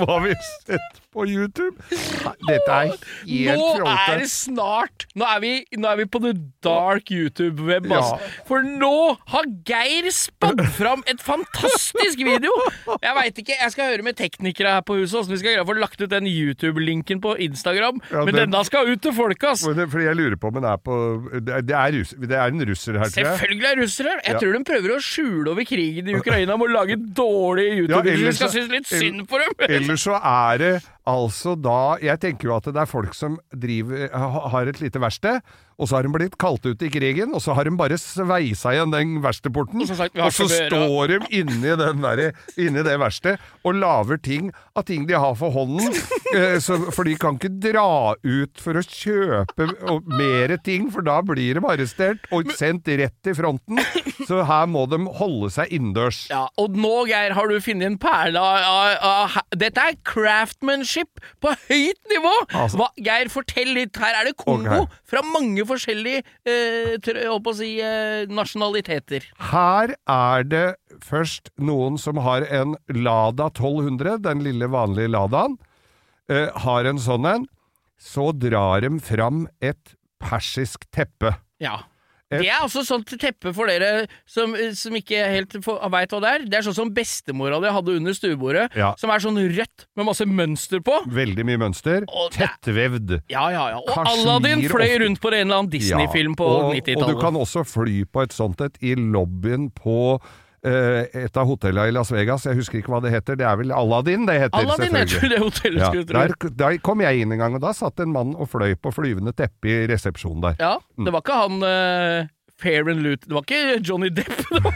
Speaker 2: hva har vi sett på YouTube? Nei, Dette er helt
Speaker 3: Nå er det
Speaker 2: fjollete.
Speaker 3: snart! Nå er vi, nå er vi på the dark YouTube-web, ass.
Speaker 2: Ja.
Speaker 3: For nå har Geir spadd fram et fantastisk video! Jeg veit ikke, jeg skal høre med teknikere her på huset åssen vi skal greie å få lagt ut den YouTube-linken på Instagram,
Speaker 2: Ja,
Speaker 3: men
Speaker 2: den-
Speaker 3: denne skal ut til folk, ass!
Speaker 2: Men det- Fordi jeg lurer på om den er på Det er, det er, rus, det er en russer her, tror jeg.
Speaker 3: Selvfølgelig er russere her! Jeg
Speaker 2: Ja.
Speaker 3: tror de prøver å skjule over krigen i Ukraina med å lage dårlige
Speaker 2: Ja,
Speaker 3: YouTube-videoer.
Speaker 2: ellers
Speaker 3: Vi skal
Speaker 2: så-
Speaker 3: synes litt
Speaker 2: ell-
Speaker 3: synd på dem!
Speaker 2: Eller så er det altså da Jeg tenker jo at det er folk som driver, ha- har et lite verksted, og så har de blitt kalt ut i krigen, og så har de bare sveisa igjen den verkstedporten,
Speaker 3: Og så sagt, vi har
Speaker 2: og så
Speaker 3: ikke mer,
Speaker 2: står de inni, den der, inni det verkstedet og lager ting av ting de har for hånden, eh, så, for de kan ikke dra ut for å kjøpe og mere ting, for da blir de arrestert og sendt rett til fronten, så her må de holde seg innendørs.
Speaker 3: Ja, og nå, Geir, har du funnet en perle av, av, av he- Dette er craftmanship på høyt nivå!
Speaker 2: Altså-
Speaker 3: Hva, Geir, fortell litt. Her er det kombo
Speaker 2: Ok.
Speaker 3: fra mange forskjellige eh, tr- jeg holdt på å si, eh, nasjonaliteter.
Speaker 2: Her er det først noen som har en Lada 1200, den lille vanlige Ladaen, eh, har en sånn en. Så drar de fram et persisk teppe.
Speaker 3: Ja. Det er også sånt teppe for dere som, eh, som ikke helt veit hva det er. Det er sånn som bestemora di hadde under stuebordet,
Speaker 2: Ja.
Speaker 3: som er sånn rødt med masse mønster på.
Speaker 2: Veldig mye mønster.
Speaker 3: Og det-
Speaker 2: Tettvevd.
Speaker 3: Ja, ja, ja. Og
Speaker 2: Kashmir
Speaker 3: Aladdin fløy
Speaker 2: ofte.
Speaker 3: rundt på en eller annen Disney-film på
Speaker 2: og, Og du
Speaker 3: 90-tallet.
Speaker 2: kan også fly på et sånt et i lobbyen på eh, et av hotellene i Las Vegas. Jeg husker ikke hva det heter. Det er vel Aladdin det heter,
Speaker 3: Aladdin heter det hotellet,
Speaker 2: Ja,
Speaker 3: skulle jeg tro.
Speaker 2: der, der kom jeg inn en gang, og da satt en mann og fløy på flyvende teppe i resepsjonen der.
Speaker 3: Ja, det var ikke han eh, Fair and Loot Det var ikke Johnny Depp. Det var,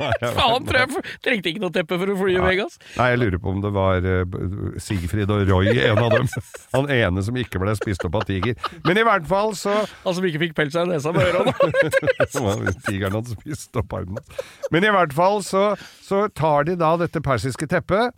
Speaker 3: faen, tror jeg for- trengte ikke noe teppe for å fly i Vegas.
Speaker 2: Nei, jeg lurer på om det var eh, B- Sigfrid og Roy, en av dem. Han ene som ikke ble spist opp av tiger. Men i hvert fall så
Speaker 3: Han som ikke fikk pels av nesa med øra.
Speaker 2: Det var Tigeren hadde spist opp armen hans. Men i hvert fall så, så tar de da dette persiske teppet,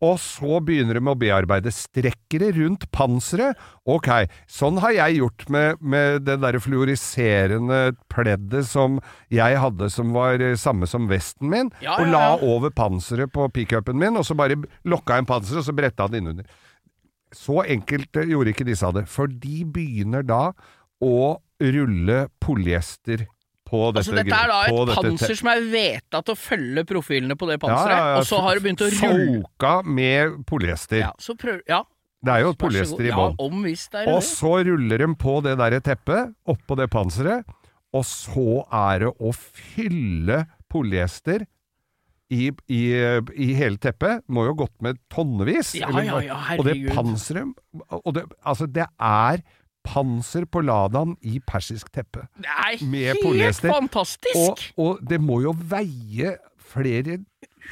Speaker 2: og så begynner de med å bearbeide strekkere rundt panseret. Ok, sånn har jeg gjort med, med det derre fluoriserende pleddet som jeg hadde som var eh, samme som vesten min,
Speaker 3: Ja,
Speaker 2: og
Speaker 3: ja,
Speaker 2: la
Speaker 3: ja.
Speaker 2: over panseret på pickupen min, og så bare lokka jeg en panser, og så bretta den innunder. Så enkelt eh, gjorde ikke disse av det, for de begynner da å rulle polyester på dette
Speaker 3: Altså, dette er da
Speaker 2: på
Speaker 3: et
Speaker 2: dette
Speaker 3: panser
Speaker 2: te-
Speaker 3: som er vedtatt å følge profilene på det
Speaker 2: Ja,
Speaker 3: panseret,
Speaker 2: ja, ja,
Speaker 3: og så har det begynt å rulle.
Speaker 2: Soka med polyester.
Speaker 3: Ja, så prøv, ja,
Speaker 2: Det er jo
Speaker 3: vær så god.
Speaker 2: polyester i
Speaker 3: Ja,
Speaker 2: bånn.
Speaker 3: om visst er det
Speaker 2: Og
Speaker 3: det.
Speaker 2: så ruller de på det der teppet, oppå det panseret, og så er det å fylle polyester i, i, i hele teppet. Må jo gått med tonnevis.
Speaker 3: Ja,
Speaker 2: eller-
Speaker 3: ja, ja,
Speaker 2: og det
Speaker 3: herregud.
Speaker 2: panseret og det, Altså, det er panser på Ladaen i persisk teppe.
Speaker 3: Det er
Speaker 2: med
Speaker 3: helt
Speaker 2: polyester. Og,
Speaker 3: fantastisk!
Speaker 2: og det må jo veie flere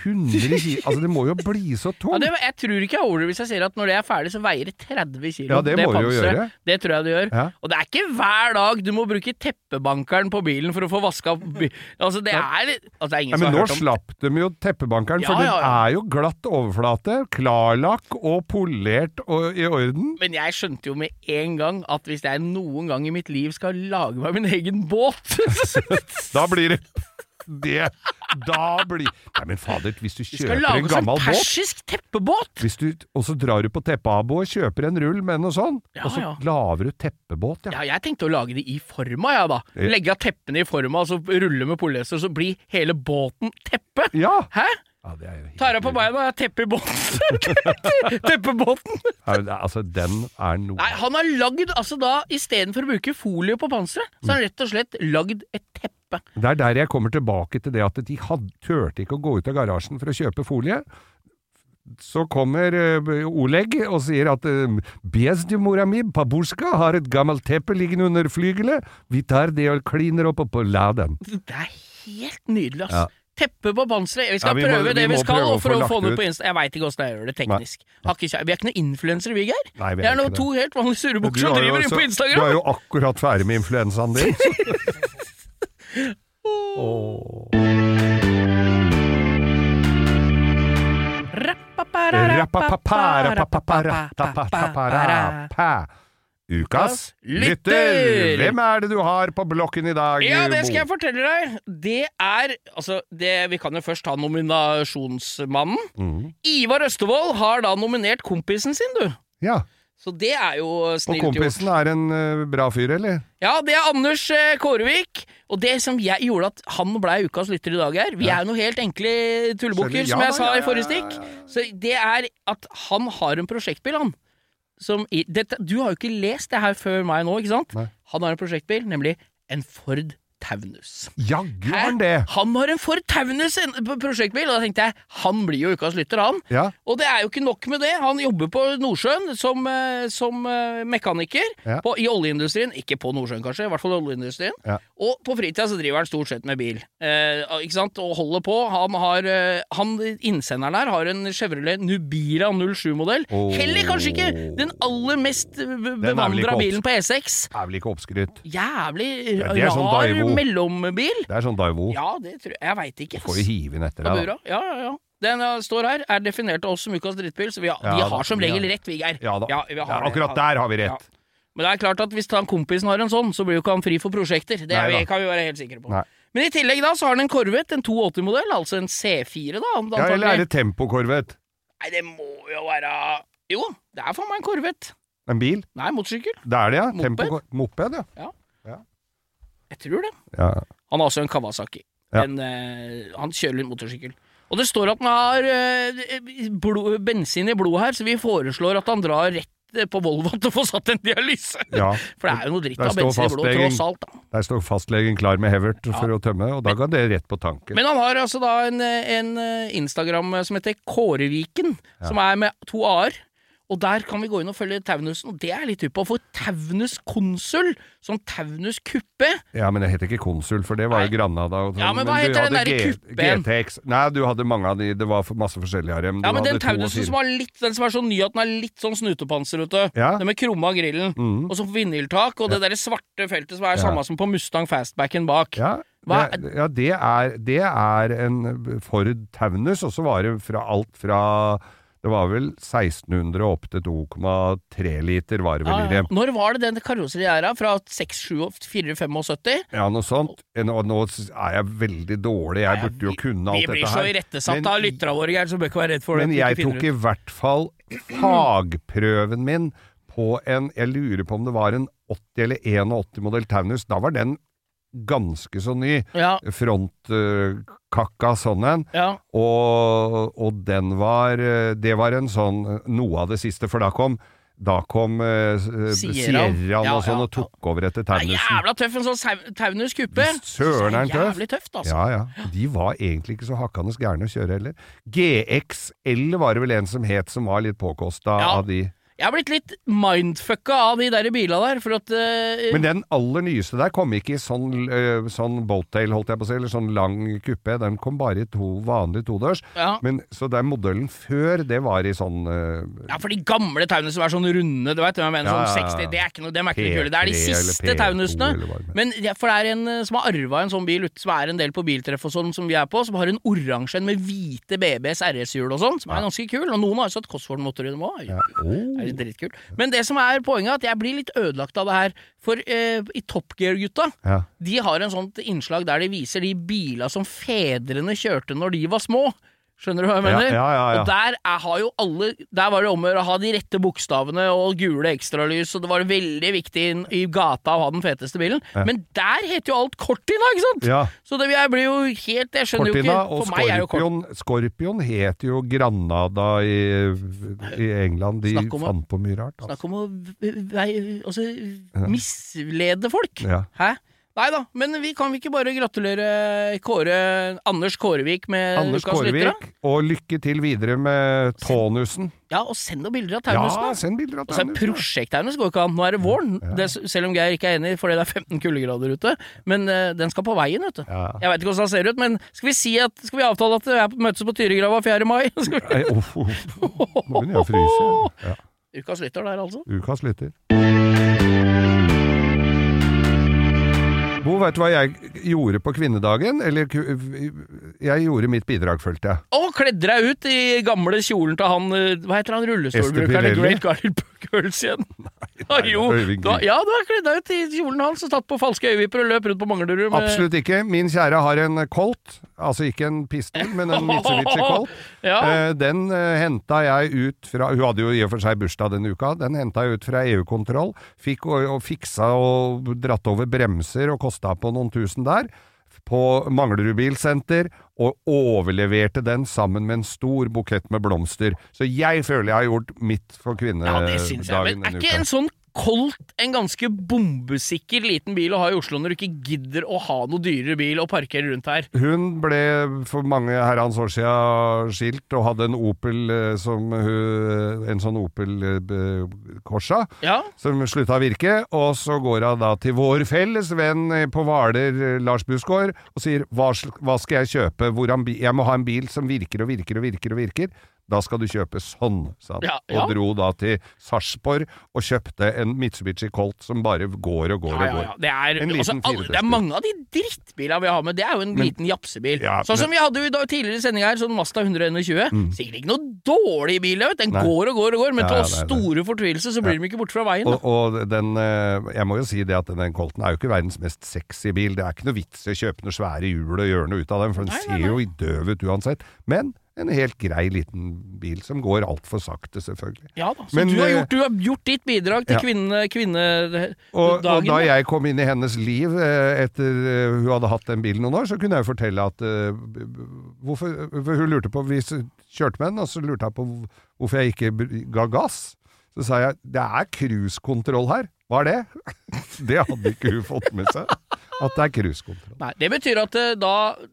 Speaker 2: hundre kilo Altså, det må jo bli så
Speaker 3: Ja,
Speaker 2: tungt!
Speaker 3: det, jeg tror ikke jeg overdriver hvis jeg sier at når det er ferdig, så veier det 30 kilo.
Speaker 2: Ja, det må det jo
Speaker 3: panseret.
Speaker 2: gjøre.
Speaker 3: Det tror jeg det gjør.
Speaker 2: Ja.
Speaker 3: Og det er ikke hver dag du må bruke teppebankeren på bilen for å få vaska opp bi- Altså, det er altså, det er ingen
Speaker 2: Ja,
Speaker 3: som
Speaker 2: men
Speaker 3: har
Speaker 2: nå
Speaker 3: hørt om
Speaker 2: slapp de jo teppebankeren,
Speaker 3: Ja,
Speaker 2: for
Speaker 3: ja,
Speaker 2: den
Speaker 3: ja.
Speaker 2: er jo glatt overflate, klarlakk og polert og i orden.
Speaker 3: men jeg skjønte jo med en gang at hvis jeg noen gang i mitt liv skal lage meg min egen båt,
Speaker 2: Da blir det det Da blir Nei, men fader, hvis du
Speaker 3: Vi skal
Speaker 2: kjøper en
Speaker 3: lage sånn
Speaker 2: gammel båt
Speaker 3: persisk teppebåt!
Speaker 2: hvis du, Og så drar du på Teppeabo og kjøper en rull med noe sånn,
Speaker 3: Ja,
Speaker 2: og så
Speaker 3: ja.
Speaker 2: lager du teppebåt, ja.
Speaker 3: Ja, jeg tenkte å lage det i forma, jeg, da.
Speaker 2: Ja.
Speaker 3: Legge av teppene i forma, og så rulle med polyester, så blir hele båten teppe.
Speaker 2: Ja!
Speaker 3: Hæ?
Speaker 2: ja det er jo helt
Speaker 3: Tar av på
Speaker 2: nydelig.
Speaker 3: beina, teppe i båten. Teppebåten!
Speaker 2: Ja, det er- Altså, den er noe
Speaker 3: Nei, han har lagd, altså da, istedenfor å bruke folie på panseret, så har han rett og slett lagd et teppe.
Speaker 2: Det er der jeg kommer tilbake til det at de had, turte ikke å gå ut av garasjen for å kjøpe folie. Så kommer eh, Oleg og sier at uh, bestemora mi, Babushka, har et gammelt teppe liggende under flygelet. Vi tar det og kliner opp og på la den.
Speaker 3: Det er helt nydelig, ass.
Speaker 2: Ja.
Speaker 3: Teppe på panseret. Vi
Speaker 2: Ja,
Speaker 3: skal
Speaker 2: vi må-
Speaker 3: prøve
Speaker 2: vi
Speaker 3: det vi,
Speaker 2: må
Speaker 3: skal
Speaker 2: prøve å
Speaker 3: og for
Speaker 2: få
Speaker 3: å
Speaker 2: lagt
Speaker 3: få
Speaker 2: ut.
Speaker 3: det på Insta. Jeg veit ikke åssen jeg gjør det teknisk. Har ikke kjær- vi er ikke noen influensere, vi, Geir.
Speaker 2: Nei, vi
Speaker 3: Det
Speaker 2: er
Speaker 3: er nå
Speaker 2: ikke
Speaker 3: to helt vanlige surrebukser som
Speaker 2: har jo
Speaker 3: driver inn
Speaker 2: så-
Speaker 3: på
Speaker 2: du
Speaker 3: Instagram.
Speaker 2: er jo akkurat ferdig med influensaen din. Rappapaparapaparatapapapara. Ukas lytter! Hvem er det du har på blokken i dag,
Speaker 3: Ja, det
Speaker 2: Mo?
Speaker 3: skal jeg fortelle deg. Det er Altså, det, vi kan jo først ta nominasjonsmannen.
Speaker 2: Mhm.
Speaker 3: Ivar Østevold har da nominert kompisen sin, du.
Speaker 2: Ja.
Speaker 3: Så det er jo
Speaker 2: Og
Speaker 3: snilt gjort.
Speaker 2: kompisen er en eh, bra fyr, eller?
Speaker 3: Ja, det er Anders eh, Kårevik. Og det som jeg gjorde at han blei ukas lytter i dag her Vi er jo noen helt enkle tullebukker,
Speaker 2: Skjønner. Ja
Speaker 3: som jeg
Speaker 2: da,
Speaker 3: sa
Speaker 2: ja,
Speaker 3: i forrige stikk. Så det er at han har en prosjektbil, han. Som i, dette, du har jo ikke lest det her før meg nå, ikke sant?
Speaker 2: Nei.
Speaker 3: Han har en prosjektbil, nemlig en Ford Taunus.
Speaker 2: Jaggu
Speaker 3: Hæ?
Speaker 2: har han det!
Speaker 3: Han har en Ford Taunus en- på prosjektbil, og da tenkte jeg han blir jo ukas lytter, han.
Speaker 2: Ja,
Speaker 3: Og det er jo ikke nok med det. Han jobber på Nordsjøen som, eh, som eh, mekaniker
Speaker 2: Ja.
Speaker 3: på, i oljeindustrien. Ikke på Nordsjøen, kanskje, i hvert fall i oljeindustrien.
Speaker 2: Ja.
Speaker 3: Og på fritida så driver han stort sett med bil. Eh, ikke sant? Og holder på. Han har eh, han, Innsenderen her har en Chevrolet Nubira 07-modell.
Speaker 2: Åh.
Speaker 3: Heller kanskje ikke den aller mest
Speaker 2: vel ikke
Speaker 3: bevandra
Speaker 2: opp-
Speaker 3: bilen på E6.
Speaker 2: er vel ikke oppskrytt.
Speaker 3: Jævlig
Speaker 2: Ja, det er
Speaker 3: rar
Speaker 2: sånn Daewoo.
Speaker 3: mellombil.
Speaker 2: Det er sånn Daivo.
Speaker 3: Ja, det tror jeg Jeg veit ikke,
Speaker 2: Får jo hive inn etter
Speaker 3: Fra
Speaker 2: deg, da.
Speaker 3: bura? Ja, ja, ja. Den eh, står her, er definert av oss som ukas drittbil, så vi har,
Speaker 2: Ja,
Speaker 3: vi
Speaker 2: da.
Speaker 3: har som
Speaker 2: Vi
Speaker 3: regel
Speaker 2: har-
Speaker 3: rett, vi, Geir.
Speaker 2: Ja da.
Speaker 3: Ja, vi har
Speaker 2: Ja,
Speaker 3: det.
Speaker 2: akkurat der har vi rett.
Speaker 3: Ja. Men det er klart at hvis han kompisen har en sånn, så blir jo ikke han fri for prosjekter. Det er
Speaker 2: Nei
Speaker 3: vi,
Speaker 2: da.
Speaker 3: kan vi være helt sikre på.
Speaker 2: Nei.
Speaker 3: Men i tillegg da, så har han en Corvette, en 280-modell, altså en C4, da.
Speaker 2: Ja,
Speaker 3: antagelig.
Speaker 2: eller er det tempokorvet?
Speaker 3: Nei, det må jo være Jo, det er for meg en Corvette.
Speaker 2: En bil?
Speaker 3: Nei, motorsykkel.
Speaker 2: Det er det, ja.
Speaker 3: Moped?
Speaker 2: Tempokor- Moped, ja.
Speaker 3: Jeg tror det.
Speaker 2: ja.
Speaker 3: Han har også en Kawasaki.
Speaker 2: Ja.
Speaker 3: En, eh, han kjører en motorsykkel. Og det står at han har eh, blod, bensin i blodet her, så vi foreslår at han drar rett eh, på Volvoen til å få satt en dialyse.
Speaker 2: ja.
Speaker 3: For det er jo noe dritt
Speaker 2: Der
Speaker 3: av bensin i
Speaker 2: står
Speaker 3: blodet,
Speaker 2: fastlegen.
Speaker 3: tross alt. Da.
Speaker 2: Der står fastlegen klar med hevert for å tømme, og da ga det rett på tanken.
Speaker 3: Men han har altså da en, eh, en eh, Instagram som heter Kåreviken, som er med to a-er. Og der kan vi gå inn og følge Taunusen, og det er jeg litt hypp på. For Taunus konsul, som Taunus kuppe,
Speaker 2: Ja, men det heter ikke konsul, for det var jo
Speaker 3: Nei.
Speaker 2: Granada. Og sånn.
Speaker 3: Ja, men hva
Speaker 2: du
Speaker 3: heter den
Speaker 2: hadde
Speaker 3: derre
Speaker 2: G-
Speaker 3: kuppen?
Speaker 2: GTX. Nei, du hadde mange av de, det var for- masse forskjellige her.
Speaker 3: Ja, men den
Speaker 2: taunusen
Speaker 3: Taunusen som har litt Den som er så ny at den har litt sånn snutepanser, vet du.
Speaker 2: Ja.
Speaker 3: Den med krumma grillen.
Speaker 2: Mhm.
Speaker 3: Og så vindeltak, og det derre svarte feltet som er
Speaker 2: Ja.
Speaker 3: samme som på Mustang fastbacken bak.
Speaker 2: Ja,
Speaker 3: Hva
Speaker 2: det, ja det, er, det er en Ford Taunus, og så var det fra alt fra Det var vel 1600 og opp til 2,3 liter, var det vel i
Speaker 3: Ah, Ja, ja.
Speaker 2: det.
Speaker 3: Når var det den karosseriet er av? Fra 6, 7, 4, 75?
Speaker 2: Ja, noe sånt. En- Og nå s- er jeg veldig dårlig, jeg burde jo kunne
Speaker 3: Vi
Speaker 2: alt
Speaker 3: blir
Speaker 2: dette
Speaker 3: så
Speaker 2: her.
Speaker 3: irettesatt
Speaker 2: Men-
Speaker 3: av lytterne våre, Geir, så du bør ikke være redd for det.
Speaker 2: Men
Speaker 3: at vi ikke
Speaker 2: jeg
Speaker 3: finner
Speaker 2: tok
Speaker 3: ut.
Speaker 2: i hvert fall fagprøven min på en Jeg lurer på om det var en 80 eller 81 modell Taunus. Da var den ganske så ny.
Speaker 3: ja,
Speaker 2: Frontkakka sånn en.
Speaker 3: ja.
Speaker 2: Og, og den var eh, Det var en sånn Noe av det siste, for da kom da kom eh,
Speaker 3: Sierraen.
Speaker 2: Sierraen
Speaker 3: Ja,
Speaker 2: og sånn
Speaker 3: ja,
Speaker 2: og tok over etter
Speaker 3: Det er
Speaker 2: Taunusen.
Speaker 3: jævla tøff, en sånn sau- Taunus kuppe.
Speaker 2: Visst søren er den tøff.
Speaker 3: Jævlig tøft, altså.
Speaker 2: Ja, ja. De var egentlig ikke så hakkende gærne å kjøre heller. GXL var det vel en som het, som var litt påkosta
Speaker 3: Ja.
Speaker 2: av de.
Speaker 3: Jeg har blitt litt mindfucka av de der bila der, for at eh,
Speaker 2: Men den aller nyeste der kom ikke i sånn, eh, sånn boattail, holdt jeg på å si, eller sånn lang kuppe. Den kom bare i to vanlige todørs.
Speaker 3: ja.
Speaker 2: Men, så den modellen før, det var i sånn eh,
Speaker 3: Ja, for de gamle taunene som er sånn runde, du veit, sånn
Speaker 2: Ja, ja, ja.
Speaker 3: 60, det er ikke noe, dem er ikke noe kule. Det er de
Speaker 2: P3 eller
Speaker 3: siste
Speaker 2: P2
Speaker 3: taunusene.
Speaker 2: eller hva det er.
Speaker 3: Men ja, for det er en eh, som har arva en sånn bil, ut- som er en del på biltreff og sånn, som vi er på, som har en oransje en med hvite BBs RS-hjul og sånn, som er ganske kul. Og noen har jo satt Cosworth-motor i dem òg.
Speaker 2: Ja. Oh.
Speaker 3: Er er dritkult. Men det som er poenget, er at jeg blir litt ødelagt av det her. For eh, i Top Gear-gutta,
Speaker 2: Ja.
Speaker 3: de har en sånt innslag der de viser de bila som fedrene kjørte når de var små. Skjønner du hva jeg
Speaker 2: Ja,
Speaker 3: mener?
Speaker 2: ja, ja, ja.
Speaker 3: Og der er, har jo alle Der var det om å gjøre å ha de rette bokstavene og gule ekstralys, og det var veldig viktig inn i gata å ha den feteste bilen. Men der heter jo alt Cortina, ikke sant?
Speaker 2: Ja.
Speaker 3: Så det, jeg blir jo helt Jeg skjønner jo
Speaker 2: Cortina
Speaker 3: ikke
Speaker 2: og
Speaker 3: For meg er jo Cortina
Speaker 2: Scorpion Scorpion heter jo Granada i, i England. De
Speaker 3: Snakk om å-
Speaker 2: fant på mye rart. Altså.
Speaker 3: Snakk om å v- vei- altså, mislede folk.
Speaker 2: Ja.
Speaker 3: Hæ? Nei da, men vi kan vi ikke bare gratulere Kåre, Anders Kårevik med
Speaker 2: Anders
Speaker 3: eh, Lukas Lyttere?
Speaker 2: Kårevik, og lykke til videre med tonusen.
Speaker 3: Ja, og send noen bilder av
Speaker 2: Ja,
Speaker 3: taunusen. da.
Speaker 2: send bilder av
Speaker 3: Og så er
Speaker 2: tonusen.
Speaker 3: Prosjekt-Taunus går ikke an. Nå er det våren, det, selv om Geir ikke er enig fordi det er 15 kuldegrader ute. Men eh, den skal på veien, vet du.
Speaker 2: Ja.
Speaker 3: Jeg veit ikke hvordan den ser ut, men skal vi, si at, skal vi avtale at vi er på- møtes på Tyrigrava 4. mai? Skal vi-
Speaker 2: Nei, uff, uff. Nå begynner jeg å fryse. Ja.
Speaker 3: Ukas lytter der, altså.
Speaker 2: Ukas lytter. Bo, veit du hva jeg gjorde på kvinnedagen? Eller ku- jeg gjorde mitt bidrag, følte jeg.
Speaker 3: Og kledde deg ut i gamle kjolen til han eh, Hva heter han rullestolbrukeren i
Speaker 2: Esther Pirelli?
Speaker 3: Great Garden Girls igjen? Ja, jo,
Speaker 2: Øyvind
Speaker 3: du har,
Speaker 2: Grieg.
Speaker 3: ja, du har kledd deg ut i kjolen hans og tatt på falske øyevipper og løp rundt på Manglerud med
Speaker 2: Absolutt ikke. Min kjære har en Colt, altså ikke en pistol, men en Mitsubishi Colt.
Speaker 3: Ja.
Speaker 2: Eh, Den eh, henta jeg ut fra Hun hadde jo i og for seg bursdag denne uka. Den henta jeg ut fra EU-kontroll. Fikk og, og fiksa og dratt over bremser og kosta på noen tusen der. På Manglerud bilsenter, og overleverte den sammen med en stor bukett med blomster. Så jeg føler jeg har gjort mitt for
Speaker 3: Ja,
Speaker 2: kvinnedagen
Speaker 3: det syns jeg. Men
Speaker 2: Eh,
Speaker 3: er
Speaker 2: denne
Speaker 3: ikke
Speaker 2: uka.
Speaker 3: en sånn Colt en ganske bombesikker liten bil å ha i Oslo når du ikke gidder å ha noe dyrere bil og parkere rundt her?
Speaker 2: Hun ble for mange herrens år siden skilt og hadde en Opel eh, som hun En sånn Opel eh, b- Corsa
Speaker 3: Ja,
Speaker 2: som slutta å virke. Og så går hun da til vår felles venn eh, på Hvaler, eh, Lars Busgaard, og sier hva, sl- hva skal jeg kjøpe? Hvordan bi- jeg må ha en bil som virker og virker og virker og virker. Da skal du kjøpe sånn, sa han.
Speaker 3: Ja, ja.
Speaker 2: Og dro da til Sarpsborg og kjøpte en Mitsubishi Colt som bare går og går
Speaker 3: ja, ja,
Speaker 2: og
Speaker 3: ja.
Speaker 2: går.
Speaker 3: Det, er,
Speaker 2: En liten
Speaker 3: altså, alle, det er
Speaker 2: firedørsbil.
Speaker 3: mange av de drittbilene vi har med. Det er jo en liten japsebil.
Speaker 2: Ja, Mm.
Speaker 3: sånn som vi hadde jo i dag, tidligere i sendinga her, sånn Mazda 121. Sikkert ikke noe dårlig bil, vet. du. den
Speaker 2: Nei.
Speaker 3: går og går og går,
Speaker 2: Ja,
Speaker 3: men til
Speaker 2: ja,
Speaker 3: vår
Speaker 2: det er det.
Speaker 3: store fortvilelse så blir de ikke borte fra veien. da.
Speaker 2: Og, og den, eh, jeg må jo si det at den Colten er jo ikke verdens mest sexy bil. Det er ikke noe vits i å kjøpe noe svære hjul og gjøre noe ut av den, for den
Speaker 3: Nei, nei,
Speaker 2: ser jo døv ut uansett. Men en helt grei liten bil som går altfor sakte, selvfølgelig.
Speaker 3: Ja da, så
Speaker 2: Men,
Speaker 3: du, har
Speaker 2: eh,
Speaker 3: gjort, du har gjort ditt bidrag til
Speaker 2: ja.
Speaker 3: kvinne, kvinnedagen.
Speaker 2: Og, og da
Speaker 3: da.
Speaker 2: jeg kom inn i hennes liv eh, etter eh, hun hadde hatt den bilen noen år, så kunne jeg jo fortelle at eh, b- b- hvorfor, for Hun lurte på Vi s- kjørte med den, og så lurte jeg på hvor- hvorfor jeg ikke br- ga gass. Så sa jeg det er cruisekontroll her. Hva er det? Det hadde ikke hun fått med seg. At det er cruisekontroll.
Speaker 3: Nei, det betyr at, eh, da,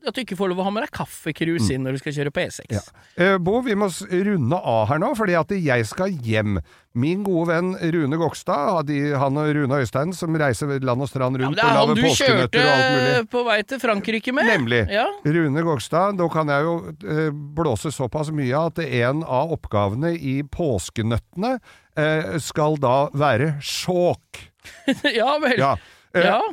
Speaker 3: at du ikke får lov å ha med deg kaffekrus inn når du skal kjøre på E6.
Speaker 2: Mm. Ja. Eh, Bo, vi må s- runde av her nå, fordi at jeg skal hjem. Min gode venn Rune Gokstad, de- han og Rune Øystein som reiser land og strand
Speaker 3: Ja, men
Speaker 2: rundt
Speaker 3: det er
Speaker 2: og
Speaker 3: han
Speaker 2: lager
Speaker 3: du
Speaker 2: påskenøtter og alt mulig.
Speaker 3: kjørte eh, på vei til Frankrike med.
Speaker 2: Nemlig.
Speaker 3: Ja.
Speaker 2: Rune Gokstad, nå kan jeg jo eh, blåse såpass mye at en av oppgavene i påskenøttene eh, skal da være sjåk.
Speaker 3: ja vel. Ja.
Speaker 2: Ja. Eh,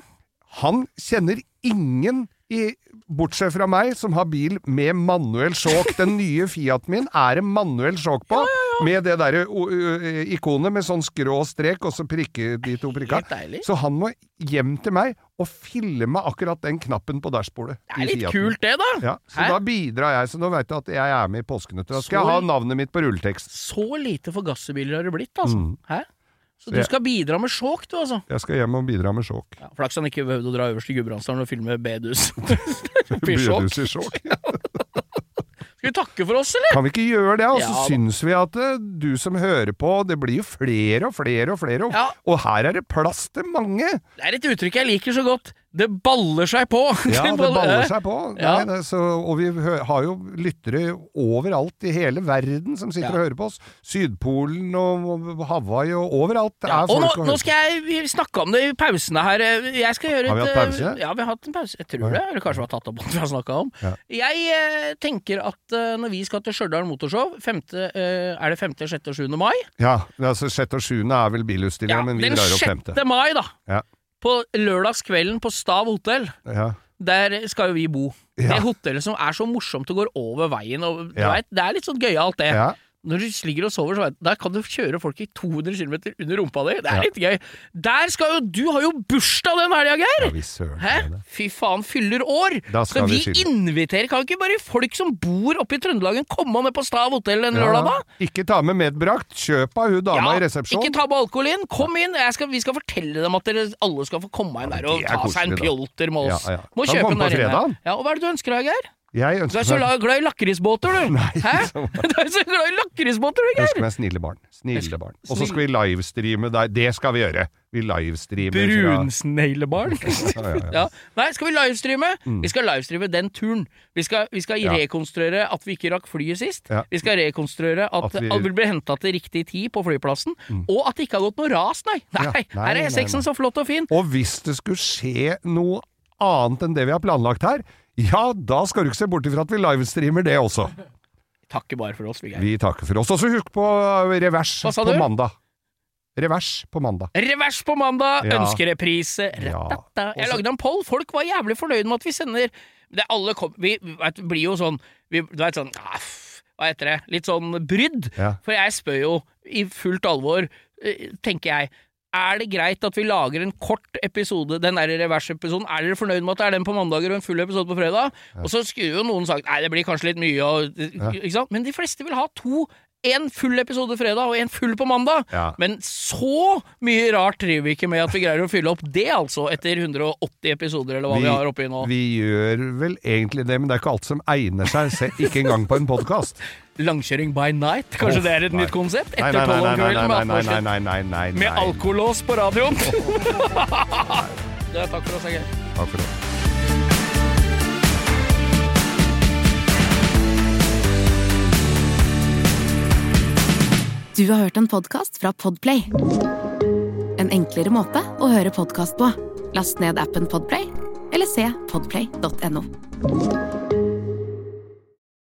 Speaker 2: Han kjenner ingen i Bortsett fra meg, som har bil med manuell sjåk. Den nye Fiaten min er det manuell sjåk på, med det derre o- ø- ø- ikonet med sånn skrå strek, og så prikke de to prikka.
Speaker 3: Helt deilig.
Speaker 2: Så han må hjem til meg og filme akkurat den knappen på dashbordet.
Speaker 3: Det er
Speaker 2: i
Speaker 3: litt
Speaker 2: Fiaten.
Speaker 3: kult det, da.
Speaker 2: Ja, så
Speaker 3: Hæ?
Speaker 2: da bidrar jeg, så nå veit du at jeg er med i Påskenøtter. Da skal
Speaker 3: Så-
Speaker 2: jeg ha navnet mitt på rulletekst.
Speaker 3: Så lite forgassebiler har det blitt, altså.
Speaker 2: Mm.
Speaker 3: Hæ? Så du
Speaker 2: Ja.
Speaker 3: skal bidra med sjåk, du, altså.
Speaker 2: Jeg skal hjem og bidra med sjåk.
Speaker 3: Ja, Flaks han ikke behøvde å dra øverst i Gudbrandsdalen og filme bedus. Oppi sjåk.
Speaker 2: Bedus i sjåk.
Speaker 3: Skal vi takke for oss, eller?
Speaker 2: Kan vi ikke gjøre det? Og så
Speaker 3: Ja, da.
Speaker 2: syns vi at eh, du som hører på, det blir jo flere og flere og flere, og,
Speaker 3: Ja.
Speaker 2: og her er det plass til mange!
Speaker 3: Det er et uttrykk jeg liker så godt. Det baller seg på!
Speaker 2: Ja, det baller seg på.
Speaker 3: Ja.
Speaker 2: Nei, det, så, og vi hø har jo lyttere overalt i hele verden som sitter
Speaker 3: Ja.
Speaker 2: og hører på oss. Sydpolen og og Hawaii og overalt. Det er
Speaker 3: Og nå,
Speaker 2: folk å
Speaker 3: nå
Speaker 2: høre på.
Speaker 3: skal jeg snakke om det i pausene her. Eh, Jeg skal gjøre
Speaker 2: Har vi
Speaker 3: et, eh,
Speaker 2: hatt pause?
Speaker 3: Ja, vi har hatt en pause. Jeg tror det. Eller kanskje vi har tatt opp alt vi har snakka om.
Speaker 2: Ja.
Speaker 3: Jeg eh, tenker at eh, når vi skal til Stjørdal Motorshow, femte, eh, er det 5., 6. og 7. mai?
Speaker 2: Ja, altså Sjette og sjuende er vel bilutstillinga, men vi
Speaker 3: den
Speaker 2: drar opp
Speaker 3: 6.
Speaker 2: femte.
Speaker 3: mai, da.
Speaker 2: Ja.
Speaker 3: På lørdagskvelden på Stav hotell.
Speaker 2: Ja.
Speaker 3: Der skal jo vi bo.
Speaker 2: Ja.
Speaker 3: Det hotellet som er så morsomt og går over veien. Og, du
Speaker 2: Ja.
Speaker 3: vet, det er litt sånn gøyalt, det.
Speaker 2: Ja.
Speaker 3: Når du ligger og sover, så vet, der kan du kjøre folk i 200 km under rumpa di. Det er litt gøy. Der skal jo Du har jo bursdag den helga, Geir!
Speaker 2: Ja, vi søren
Speaker 3: Hæ?
Speaker 2: er det.
Speaker 3: Fy faen, fyller år!
Speaker 2: Da skal
Speaker 3: Skal
Speaker 2: vi
Speaker 3: vi
Speaker 2: skille.
Speaker 3: invitere? Kan ikke bare folk som bor oppe i Trøndelagen komme med på Stav hotell den lørdag, da?
Speaker 2: Ikke ta med medbrakt. Kjøp av hun dama i resepsjonen.
Speaker 3: Ikke ta med alkohol inn, kom inn! Jeg skal, vi skal fortelle dem at dere alle skal få komme inn
Speaker 2: Ja, men
Speaker 3: der og
Speaker 2: det er
Speaker 3: ta seg en
Speaker 2: koselig, da.
Speaker 3: pjolter med oss.
Speaker 2: Ja, ja.
Speaker 3: Må
Speaker 2: Kan
Speaker 3: kjøpe
Speaker 2: komme
Speaker 3: den
Speaker 2: på
Speaker 3: der inne.
Speaker 2: fredagen.
Speaker 3: Ja, og hva er det du ønsker deg, Geir?
Speaker 2: Jeg
Speaker 3: Du
Speaker 2: ønsker
Speaker 3: er så
Speaker 2: meg-
Speaker 3: la- glad i lakrisbåter, du!
Speaker 2: Nei,
Speaker 3: Hæ?
Speaker 2: så-
Speaker 3: Du er så glad i lakrisbåter, du,
Speaker 2: ønsker
Speaker 3: Geir!
Speaker 2: meg snille barn. Snille
Speaker 3: Ønsker-
Speaker 2: barn. Og så
Speaker 3: snill-
Speaker 2: skal vi livestreame deg. Det skal vi gjøre. Vi livestreamer. fra-
Speaker 3: Brunsneglebarn.
Speaker 2: Ja, ja, ja.
Speaker 3: Ja. Nei, skal vi livestreame? Vi skal livestreame den turen. Vi skal, vi skal
Speaker 2: Mm. Ja.
Speaker 3: rekonstruere at vi ikke rakk flyet sist.
Speaker 2: Ja.
Speaker 3: Vi skal rekonstruere at,
Speaker 2: At vi- Mm.
Speaker 3: alt vil bli henta til riktig tid på flyplassen. Og at det ikke har gått noe ras, nei! Nei,
Speaker 2: Ja. Nei,
Speaker 3: Her
Speaker 2: nei, nei.
Speaker 3: er E6-en så flott og fin!
Speaker 2: Og hvis det skulle skje noe annet enn det vi har planlagt her, ja, da skal du ikke se bort ifra at vi livestreamer det også.
Speaker 3: Takker bare for oss, vi, Geir.
Speaker 2: Vi takker for oss. Og så husk på revers
Speaker 3: Hva sa
Speaker 2: på
Speaker 3: du?
Speaker 2: mandag. Revers på mandag.
Speaker 3: Revers på mandag,
Speaker 2: Ja.
Speaker 3: ønskereprise.
Speaker 2: Ja.
Speaker 3: Ratata. Jeg
Speaker 2: Også-
Speaker 3: lagde en poll, folk var jævlig fornøyd med at vi sender det alle kom, Vi vet, blir jo sånn vi, Du vet sånn aff, Hva heter det? Litt sånn brydd.
Speaker 2: Ja.
Speaker 3: For jeg spør jo i fullt alvor, eh, tenker jeg, er det greit at vi lager en kort episode, den der reversepisoden? Er dere fornøyd med at det er den på mandager og en full episode på fredag? Og så skulle jo noen sagt nei, det blir kanskje litt mye, og, ikke sant? Men de fleste vil ha to. En full episode fredag og en full på mandag.
Speaker 2: Ja.
Speaker 3: Men så mye rart driver vi ikke med at vi greier å fylle opp det, altså, etter 180 episoder eller hva vi, har oppi nå.
Speaker 2: vi gjør vel egentlig det, men det er ikke alt som egner seg, se, ikke engang på en podkast.
Speaker 3: Langkjøring by night, kanskje
Speaker 2: Åh,
Speaker 3: det er et
Speaker 2: nei.
Speaker 3: nytt konsept?
Speaker 2: Nei,
Speaker 3: Etter
Speaker 2: nei, nei,
Speaker 3: tolv om
Speaker 2: nei,
Speaker 3: kvelden med
Speaker 2: nei, nei,
Speaker 3: 18
Speaker 2: nei,
Speaker 3: års
Speaker 2: nei, nei, nei, nei.
Speaker 3: Med alkolås på radioen! det er takk for oss, Geir.
Speaker 2: Takk for det.
Speaker 1: Du har hørt en podcast fra Podplay. En enklere måte å høre podcast på. Last ned appen Podplay, eller se podplay.no.